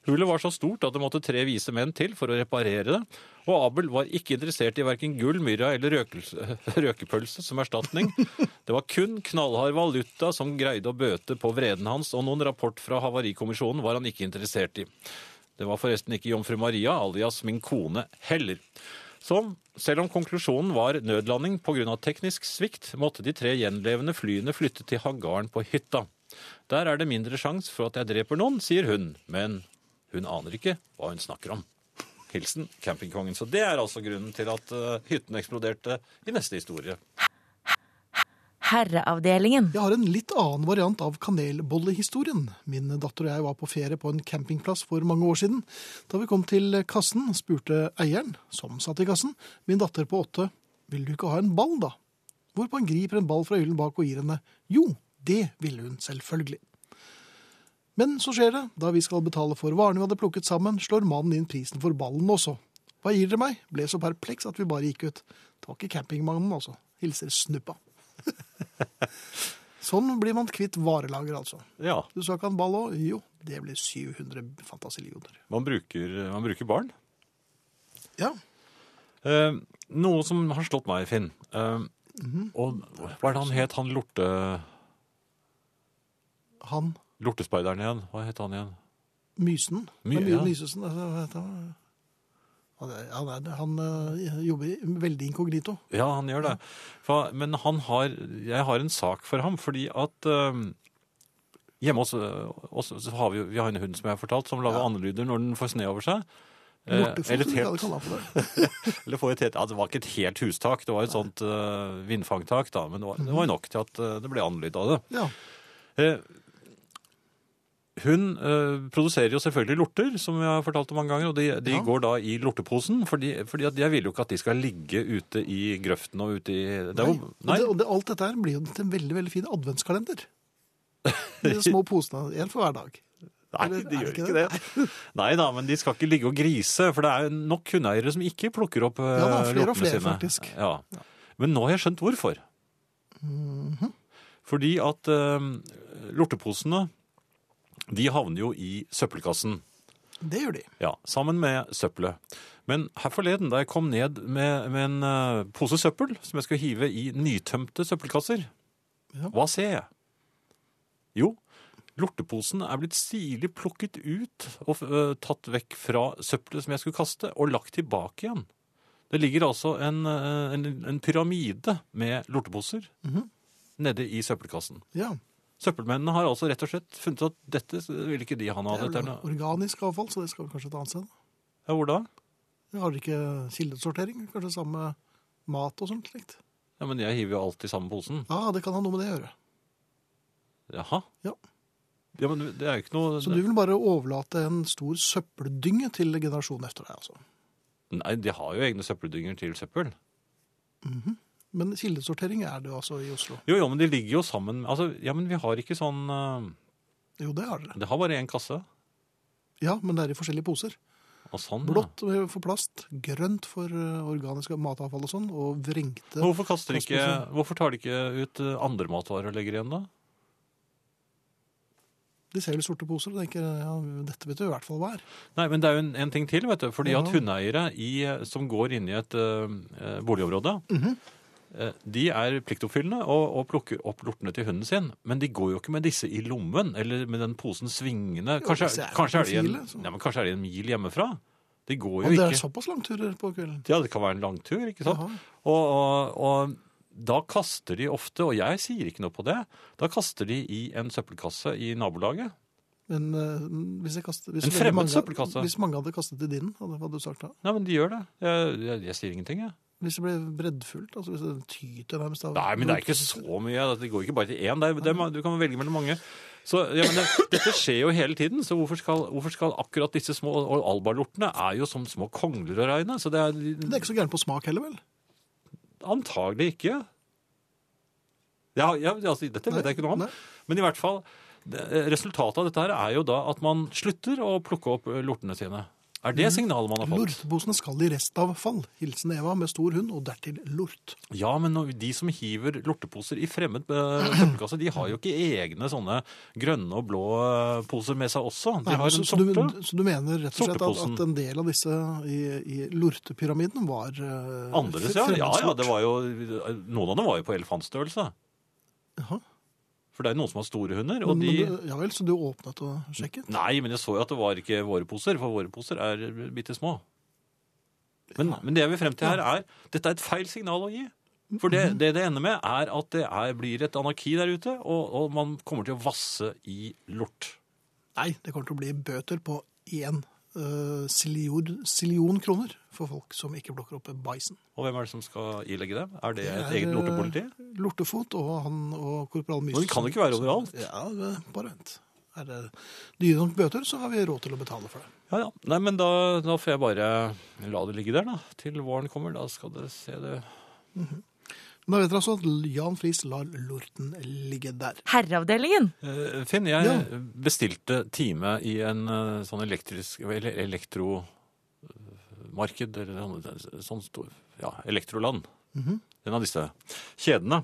Speaker 2: Hullet var så stort at det måtte tre vise menn til for å reparere det, og Abel var ikke interessert i verken gull, myrra eller røkelse, røkepølse som erstatning. Det var kun knallhard valuta som greide å bøte på vreden hans, og noen rapport fra Havarikommisjonen var han ikke interessert i. Det var forresten ikke jomfru Maria, alias min kone, heller. Som, selv om konklusjonen var nødlanding pga. teknisk svikt, måtte de tre gjenlevende flyene flytte til hangaren på hytta. Der er det mindre sjanse for at jeg dreper noen, sier hun, men hun aner ikke hva hun snakker om. Hilsen campingkongen. Så det er altså grunnen til at eh, hytten eksploderte i neste historie.
Speaker 3: Herreavdelingen.
Speaker 1: Jeg har en litt annen variant av kanelbollehistorien. Min datter og jeg var på ferie på en campingplass for mange år siden. Da vi kom til kassen, spurte eieren, som satt i kassen, min datter på åtte, vil du ikke ha en ball da? Hvorpå han griper en ball fra hyllen bak og gir henne. Jo, det ville hun selvfølgelig. Men så skjer det, da vi skal betale for varene vi hadde plukket sammen, slår mannen inn prisen for ballen også. Hva gir dere meg? Ble så perpleks at vi bare gikk ut. Det var ikke campingmannen, altså. Hilser Snuppa. Sånn blir man kvitt varelager, altså.
Speaker 2: Ja,
Speaker 1: Du sa ikke han ball òg? Jo, det blir 700 fantasillioner.
Speaker 2: man bruker, man bruker barn.
Speaker 1: Ja.
Speaker 2: Eh, noe som har slått meg, Finn. Eh, Og hva er det han het, han lorte,
Speaker 1: Han
Speaker 2: lortespeideren igjen? Hva het han igjen?
Speaker 1: Mysen.
Speaker 2: My-
Speaker 1: My,
Speaker 2: ja.
Speaker 1: Mysesen. altså, hva heter Han Han er- han er- han, øh, jobber i- veldig inkognito.
Speaker 2: Ja, han gjør det. For, men han har, jeg har en sak for ham, fordi at eh, hjemme hos eh, oss så har vi, jo- vi har en hund som jeg har fortalt, som lager andelyder når den får sne over seg. Eh,
Speaker 1: Lortefot,
Speaker 2: eller
Speaker 1: som
Speaker 2: et
Speaker 1: vi kaller
Speaker 2: helt,
Speaker 1: han for det.
Speaker 2: eller får et helt, ja, det var ikke et helt hustak, det var et sånt eh, vindfangtak, da, men det var, det var nok til at eh, det ble andlyd av det.
Speaker 1: Ja.
Speaker 2: Eh, hun eh, produserer jo selvfølgelig lorter, som jeg har fortalt om mange ganger, og de, de
Speaker 1: Ja.
Speaker 2: går da i lorteposen, fordi, fordi at jeg vil jo ikke at de skal ligge ute i grøften og ute i det er
Speaker 1: Nei.
Speaker 2: jo-
Speaker 1: Og, det, og det, alt dette her blir jo til en veldig veldig fin adventskalender. Med de små posene. Én for hver dag.
Speaker 2: Nei,
Speaker 1: Eller er
Speaker 2: de gjør
Speaker 1: det
Speaker 2: ikke
Speaker 1: ikke
Speaker 2: det. Nei da, men de skal ikke ligge og grise, for det er jo nok hundeeiere som ikke plukker opp eh,
Speaker 1: Ja da, flere og
Speaker 2: lortene
Speaker 1: flere,
Speaker 2: sine.
Speaker 1: faktisk.
Speaker 2: Ja. Men nå har jeg skjønt hvorfor.
Speaker 1: Mhm.
Speaker 2: Fordi at eh, lorteposene, de havner jo i søppelkassen.
Speaker 1: Det gjør de.
Speaker 2: Ja, sammen med søppelet. Men her forleden, da jeg kom ned med, med en eh, pose søppel som jeg skulle hive i nytømte søppelkasser,
Speaker 1: Ja.
Speaker 2: hva ser jeg? Jo, lorteposen er blitt stilig plukket ut og eh, tatt vekk fra søppelet som jeg skulle kaste, og lagt tilbake igjen. Det ligger altså en, eh, en, en pyramide med lorteposer nede i søppelkassen.
Speaker 1: Ja.
Speaker 2: Søppelmennene har altså rett og slett funnet ut at dette vil ikke de ha noe
Speaker 1: Det
Speaker 2: av.
Speaker 1: er
Speaker 2: Dette er
Speaker 1: vel
Speaker 2: noe-
Speaker 1: organisk avfall, så det skal vel kanskje et annet sted.
Speaker 2: Ja, hvor da?
Speaker 1: Vi har ikke kildesortering. Kanskje samme mat og sånt slikt.
Speaker 2: Ja, men jeg hiver jo alt i samme posen.
Speaker 1: Ja, det kan ha noe med det å gjøre.
Speaker 2: Jaha.
Speaker 1: Ja.
Speaker 2: Ja, men det er jo ikke noe
Speaker 1: Så du vil bare overlate en stor søppeldynge til generasjonen etter deg, altså.
Speaker 2: Nei, de har jo egne søppeldynger til søppel.
Speaker 1: Mhm. Men kildesortering er det jo altså i Oslo.
Speaker 2: Jo, jo, men de ligger jo sammen Altså, ja, men vi har ikke sånn eh,
Speaker 1: Jo, det har dere.
Speaker 2: Det har bare én kasse.
Speaker 1: Ja, men det er i forskjellige poser.
Speaker 2: Og sånn, ja.
Speaker 1: Blått eh, for plast, grønt for eh, organisk matavfall og sånn, og vrengte
Speaker 2: Hvorfor, kaster de ikke, hvorfor tar de ikke ut eh, andre matvarer og legger igjen, da?
Speaker 1: De ser vel sorte poser og tenker ja, dette vet du i hvert fall hva er.
Speaker 2: Nei, men det er jo en, en ting til, vet du. Fordi
Speaker 1: Ja.
Speaker 2: at hundeeiere i, som går inn i et eh, eh, boligområde, eh, de er pliktoppfyllende og, og plukker opp lortene til hunden sin. Men de går jo ikke med disse i lommen, eller med den posen svingende.
Speaker 1: hvis
Speaker 2: Kanskje,
Speaker 1: jeg er
Speaker 2: kanskje, er, de en,
Speaker 1: homofile, så-
Speaker 2: nei, men kanskje er de en mil hjemmefra? De går jo
Speaker 1: Og det er
Speaker 2: ikke.
Speaker 1: såpass langturer på kvelden.
Speaker 2: Ja, det kan være en lang tur, ikke sant?
Speaker 1: Jaha.
Speaker 2: Og, og, og da kaster de ofte, og jeg sier ikke noe på det, da kaster de i en søppelkasse i nabolaget.
Speaker 1: Men eh, hvis jeg kastet, hvis
Speaker 2: En
Speaker 1: veldig
Speaker 2: fremmed
Speaker 1: mange-
Speaker 2: søppelkasse.
Speaker 1: Hvis mange hadde kastet i din, hadde, hadde du sagt da?
Speaker 2: Nei, men de gjør det. Jeg, jeg, jeg sier ingenting, jeg.
Speaker 1: Hvis det ble breddfullt, altså hvis det tyter nærmest av
Speaker 2: Nei, men det er ikke så mye. Altså, Det går ikke bare til én. Det er, det er, ma- du kan velge mellom mange. Så, ja, men det, dette skjer jo hele tiden, så hvorfor skal, hvorfor skal akkurat disse små Og albalortene er jo som små kongler å regne, så det er
Speaker 1: Det er ikke så gærent på smak heller, vel?
Speaker 2: Antagelig ikke. Ja, ja, altså, dette vet
Speaker 1: Nei,
Speaker 2: jeg ikke noe om.
Speaker 1: nei.
Speaker 2: Men i hvert fall, det- resultatet av dette her er jo da at man slutter å plukke opp lortene sine. Er det
Speaker 1: Mm.
Speaker 2: signalet man har fått?
Speaker 1: Lorteposene skal i restavfall. Hilsen Eva med stor hund, og dertil lort.
Speaker 2: Ja, men når- de som hiver lorteposer i fremmed eh, søppelkasse, de har jo ikke egne sånne grønne og blå eh, poser med seg også. De
Speaker 1: Nei,
Speaker 2: har en
Speaker 1: så, så, du,
Speaker 2: sorte.
Speaker 1: så du mener rett og slett at,
Speaker 2: Sorteposen.
Speaker 1: at en del av disse i, i lortepyramiden var uh,
Speaker 2: Andres, ja. Ja, ja, det var jo Noen av dem var jo på elefantstørrelse.
Speaker 1: Jaha.
Speaker 2: For det er jo noen som har store hunder, og
Speaker 1: Men,
Speaker 2: de
Speaker 1: men, du- ja vel, så du åpnet og sjekket?
Speaker 2: Nei, men jeg så jo at det var ikke våre poser, for våre poser er bitte små. Men, men det jeg vil frem til her er, dette er et feil signal å gi. For
Speaker 1: Mm-hmm.
Speaker 2: det det, det ender med er at det er, blir et anarki der ute, og, og man kommer til å vasse i lort.
Speaker 1: Nei, det kommer til å bli bøter på én eh, silion, silion kroner for folk som ikke plukker opp bæsjen.
Speaker 2: Og hvem er det som skal ilegge dem? Er det et
Speaker 1: er,
Speaker 2: eget lortepoliti?
Speaker 1: eh, Lortefot og han og korporal Mysen.
Speaker 2: Men det kan jo ikke være overalt.
Speaker 1: Ja, eh, bare vent. Er det dyre nok bøter, så har vi råd til å betale for det.
Speaker 2: Ja, ja. Nei, men da, da får jeg bare la det ligge der, da. Til våren kommer, da skal dere se det.
Speaker 1: Men da vet dere altså at Jan Friis lar lorten ligge der.
Speaker 3: Herreavdelingen.
Speaker 2: Eh, Finn, jeg
Speaker 1: Ja.
Speaker 2: bestilte time i en eh, sånn elektrisk Eller elektromarked, eller sånn, sånn stor Ja, Elektroland. En av disse kjedene.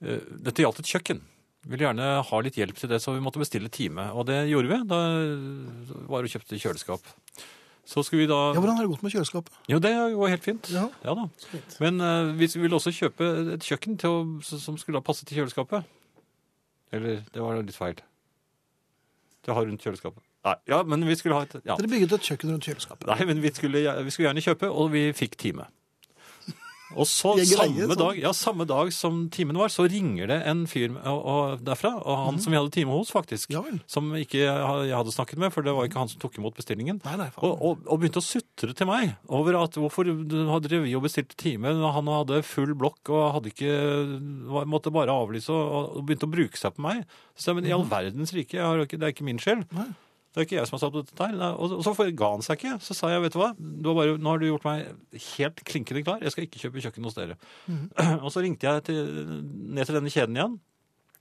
Speaker 2: Eh, Dette gjaldt et kjøkken. Ville gjerne ha litt hjelp til det, så vi måtte bestille time. Og det gjorde vi. Da var og kjøpte kjøleskap. Så skulle vi da
Speaker 1: Ja, Hvordan har det gått med kjøleskapet?
Speaker 2: Jo, det går helt fint.
Speaker 1: Ja.
Speaker 2: Ja da. Men eh, vi ville også kjøpe et kjøkken til å, som skulle da passe til kjøleskapet. Eller det var litt feil. Det har rundt kjøleskapet. Nei, ja, men vi skulle ha et ja.
Speaker 1: Dere bygget et kjøkken rundt kjøleskapet.
Speaker 2: Nei, men vi skulle, vi skulle gjerne kjøpe, og vi fikk time. Og så
Speaker 1: Vi er greie,
Speaker 2: samme
Speaker 1: sånn.
Speaker 2: dag, ja, samme dag som timen var, så ringer det en fyr og, og derfra, og han som vi hadde time hos, faktisk.
Speaker 1: Mhm. Ja vel.
Speaker 2: Som ikke jeg hadde snakket med, for det var ikke han som tok imot bestillingen.
Speaker 1: Nei, nei,
Speaker 2: Og,
Speaker 1: faen.
Speaker 2: og, og begynte å sutre til meg over at hvorfor hadde vi jo bestilt time, og han hadde full blokk og hadde ikke, var- måtte bare avlyse og, og begynte å bruke seg på meg. Så jeg, men i all verdens rike, jeg har, jo ikke- det er ikke min skyld.
Speaker 1: Nei.
Speaker 2: Det er ikke jeg som har satt på dette her. Nei, Og, og så for- ga han seg ikke. Så sa jeg, vet du hva, du har bare, nå har du gjort meg helt klinkende klar, jeg skal ikke kjøpe kjøkken hos dere. Og så ringte jeg til, ned til denne kjeden igjen,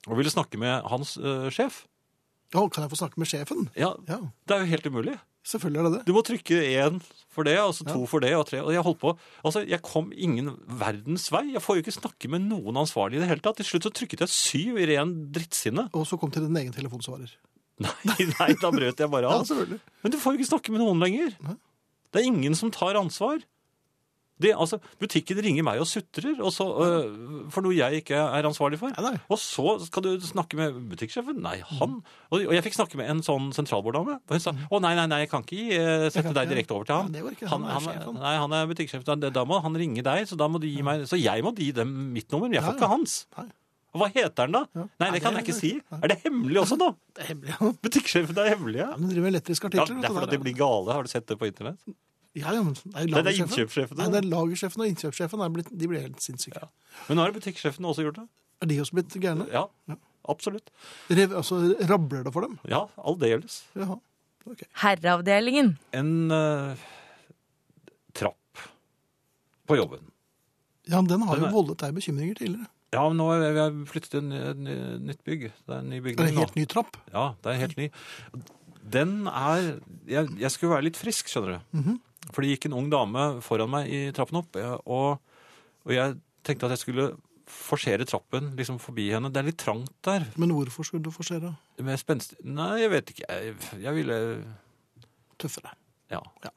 Speaker 2: og ville snakke med hans eh, sjef.
Speaker 1: Ja, kan jeg få snakke med sjefen?
Speaker 2: Ja,
Speaker 1: Ja,
Speaker 2: det er jo helt umulig.
Speaker 1: selvfølgelig er det det.
Speaker 2: Du må trykke én for det, og så to for det, og tre. Og jeg holdt på. Altså, jeg kom ingen verdens vei. Jeg får jo ikke snakke med noen ansvarlig i det hele tatt. Til slutt så trykket jeg syv i ren drittsinne.
Speaker 1: Og så kom til din egen telefonsvarer.
Speaker 2: Nei, nei, da brøt jeg bare
Speaker 1: Ja,
Speaker 2: av.
Speaker 1: selvfølgelig.
Speaker 2: Men du får jo ikke snakke med noen lenger. Det er ingen som tar ansvar. Det, altså, butikken ringer meg og sutrer og så, øh, for noe jeg ikke er ansvarlig for.
Speaker 1: Nei, nei.
Speaker 2: Og så skal du snakke med butikksjefen? Nei, han. Og, og jeg fikk snakke med en sånn sentralborddame. Og hun sa å nei, nei, nei, jeg kan ikke gi, eh, sette
Speaker 1: Mm. kan
Speaker 2: deg
Speaker 1: ikke.
Speaker 2: direkte over til ham.
Speaker 1: Ja, det går ikke.
Speaker 2: han,
Speaker 1: Han er
Speaker 2: han,
Speaker 1: sjefen.
Speaker 2: nei, han er butikksjef. Da, da må han ringe deg, så da må du gi meg Så jeg må gi dem mitt nummer, men jeg får
Speaker 1: Ja,
Speaker 2: ikke
Speaker 1: ja.
Speaker 2: hans.
Speaker 1: Nei.
Speaker 2: Og hva heter han da? Nei,
Speaker 1: Nei,
Speaker 2: det kan jeg
Speaker 1: det-
Speaker 2: ikke si. Er det hemmelig også, da?
Speaker 1: Det er hemmelig. Ja,
Speaker 2: Butikksjefen er hemmelig, ja.
Speaker 1: men de driver med elektriske
Speaker 2: Ja,
Speaker 1: artikler. vet
Speaker 2: det er
Speaker 1: du,
Speaker 2: fordi
Speaker 1: der.
Speaker 2: de blir gale. Har du sett det på internett?
Speaker 1: Ja, ja, men det er,
Speaker 2: Nei, det er
Speaker 1: lagersjefen.
Speaker 2: innkjøpssjefen.
Speaker 1: Nei, det er lagersjefen og innkjøpssjefen. er blitt- De blir helt sinnssyke.
Speaker 2: Men nå har butikksjefen også gjort det.
Speaker 1: Er de også blitt gærne?
Speaker 2: Ja, absolutt.
Speaker 1: Rev, altså, rabler det for dem?
Speaker 2: Ja, aldeles.
Speaker 1: Jaha. Ok.
Speaker 3: Herreavdelingen.
Speaker 2: En eh, trapp på jobben.
Speaker 1: Ja, men den har
Speaker 2: Den
Speaker 1: jo
Speaker 2: er-
Speaker 1: voldet deg bekymringer tidligere.
Speaker 2: Ja, men nå har vi- vi har flyttet til et ny- et ny- nytt bygg. Det er en ny
Speaker 1: Er det
Speaker 2: bygning
Speaker 1: en
Speaker 2: nå.
Speaker 1: helt ny trapp?
Speaker 2: Ja, det er helt ny. Den er jeg, jeg skulle være litt frisk, skjønner du. For det gikk en ung dame foran meg i trappen opp, jeg- og, og jeg tenkte at jeg skulle forsere trappen liksom forbi henne. Det er litt trangt der.
Speaker 1: Men hvorfor skulle du forsere?
Speaker 2: Med spenst... Nei, jeg vet ikke. Jeg, jeg ville
Speaker 1: Tøffere.
Speaker 2: Ja.
Speaker 1: Ja.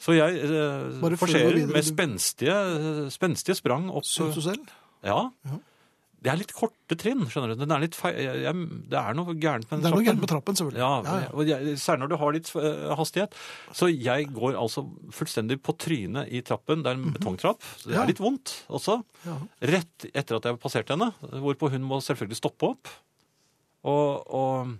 Speaker 2: Så jeg eh,
Speaker 1: Bare før du går
Speaker 2: forserer
Speaker 1: videre,
Speaker 2: med
Speaker 1: du-
Speaker 2: spenstige, spenstige sprang opp
Speaker 1: Syns du selv?
Speaker 2: Ja.
Speaker 1: Ja.
Speaker 2: Det er litt korte trinn, skjønner du. Den er litt feil. Jeg, jeg, det er noe gærent med den
Speaker 1: Det er noe
Speaker 2: trappen.
Speaker 1: gærent med trappen, selvfølgelig.
Speaker 2: Ja,
Speaker 1: Ja, ja.
Speaker 2: og jeg, særlig når du har litt eh, hastighet. Så jeg går altså fullstendig på trynet i trappen. Det er en betongtrapp. Så
Speaker 1: Mhm.
Speaker 2: det
Speaker 1: Ja.
Speaker 2: er litt vondt også.
Speaker 1: Ja.
Speaker 2: Rett etter at jeg har passert henne, hvorpå hun må selvfølgelig stoppe opp. Og, og,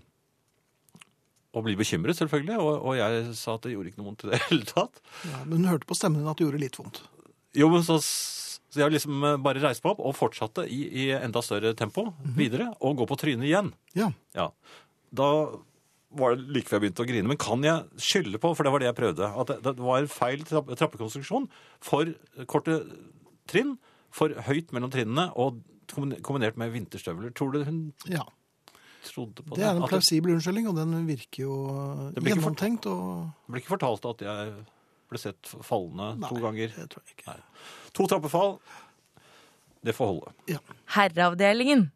Speaker 2: og bli bekymret, selvfølgelig. Og, og jeg sa at det gjorde ikke noe vondt i det hele tatt.
Speaker 1: Ja, men hun hørte på stemmen din at det gjorde litt vondt.
Speaker 2: Jo, men så, så jeg liksom eh, bare reiste meg opp og fortsatte i, i enda større tempo videre. Og gå på trynet igjen.
Speaker 1: Ja.
Speaker 2: Ja. Da var det like før jeg begynte å grine. Men kan jeg skylde på, for det var det jeg prøvde, at det, det var feil trapp, trappekonstruksjon for korte trinn, for høyt mellom trinnene, og kombin- kombinert med vinterstøvler. Tror du hun
Speaker 1: ja.
Speaker 2: trodde på
Speaker 1: Det
Speaker 2: det?
Speaker 1: er en
Speaker 2: At det
Speaker 1: plausibel unnskyldning, og den virker jo
Speaker 2: Det blir ikke for-
Speaker 1: gjennomtenkt. Og...
Speaker 2: ble ikke fortalt at jeg ble sett fallende to
Speaker 1: Nei,
Speaker 2: ganger.
Speaker 1: Det tror jeg ikke.
Speaker 2: Nei. To trappefall. Det får holde.
Speaker 1: Ja.
Speaker 3: Herreavdelingen.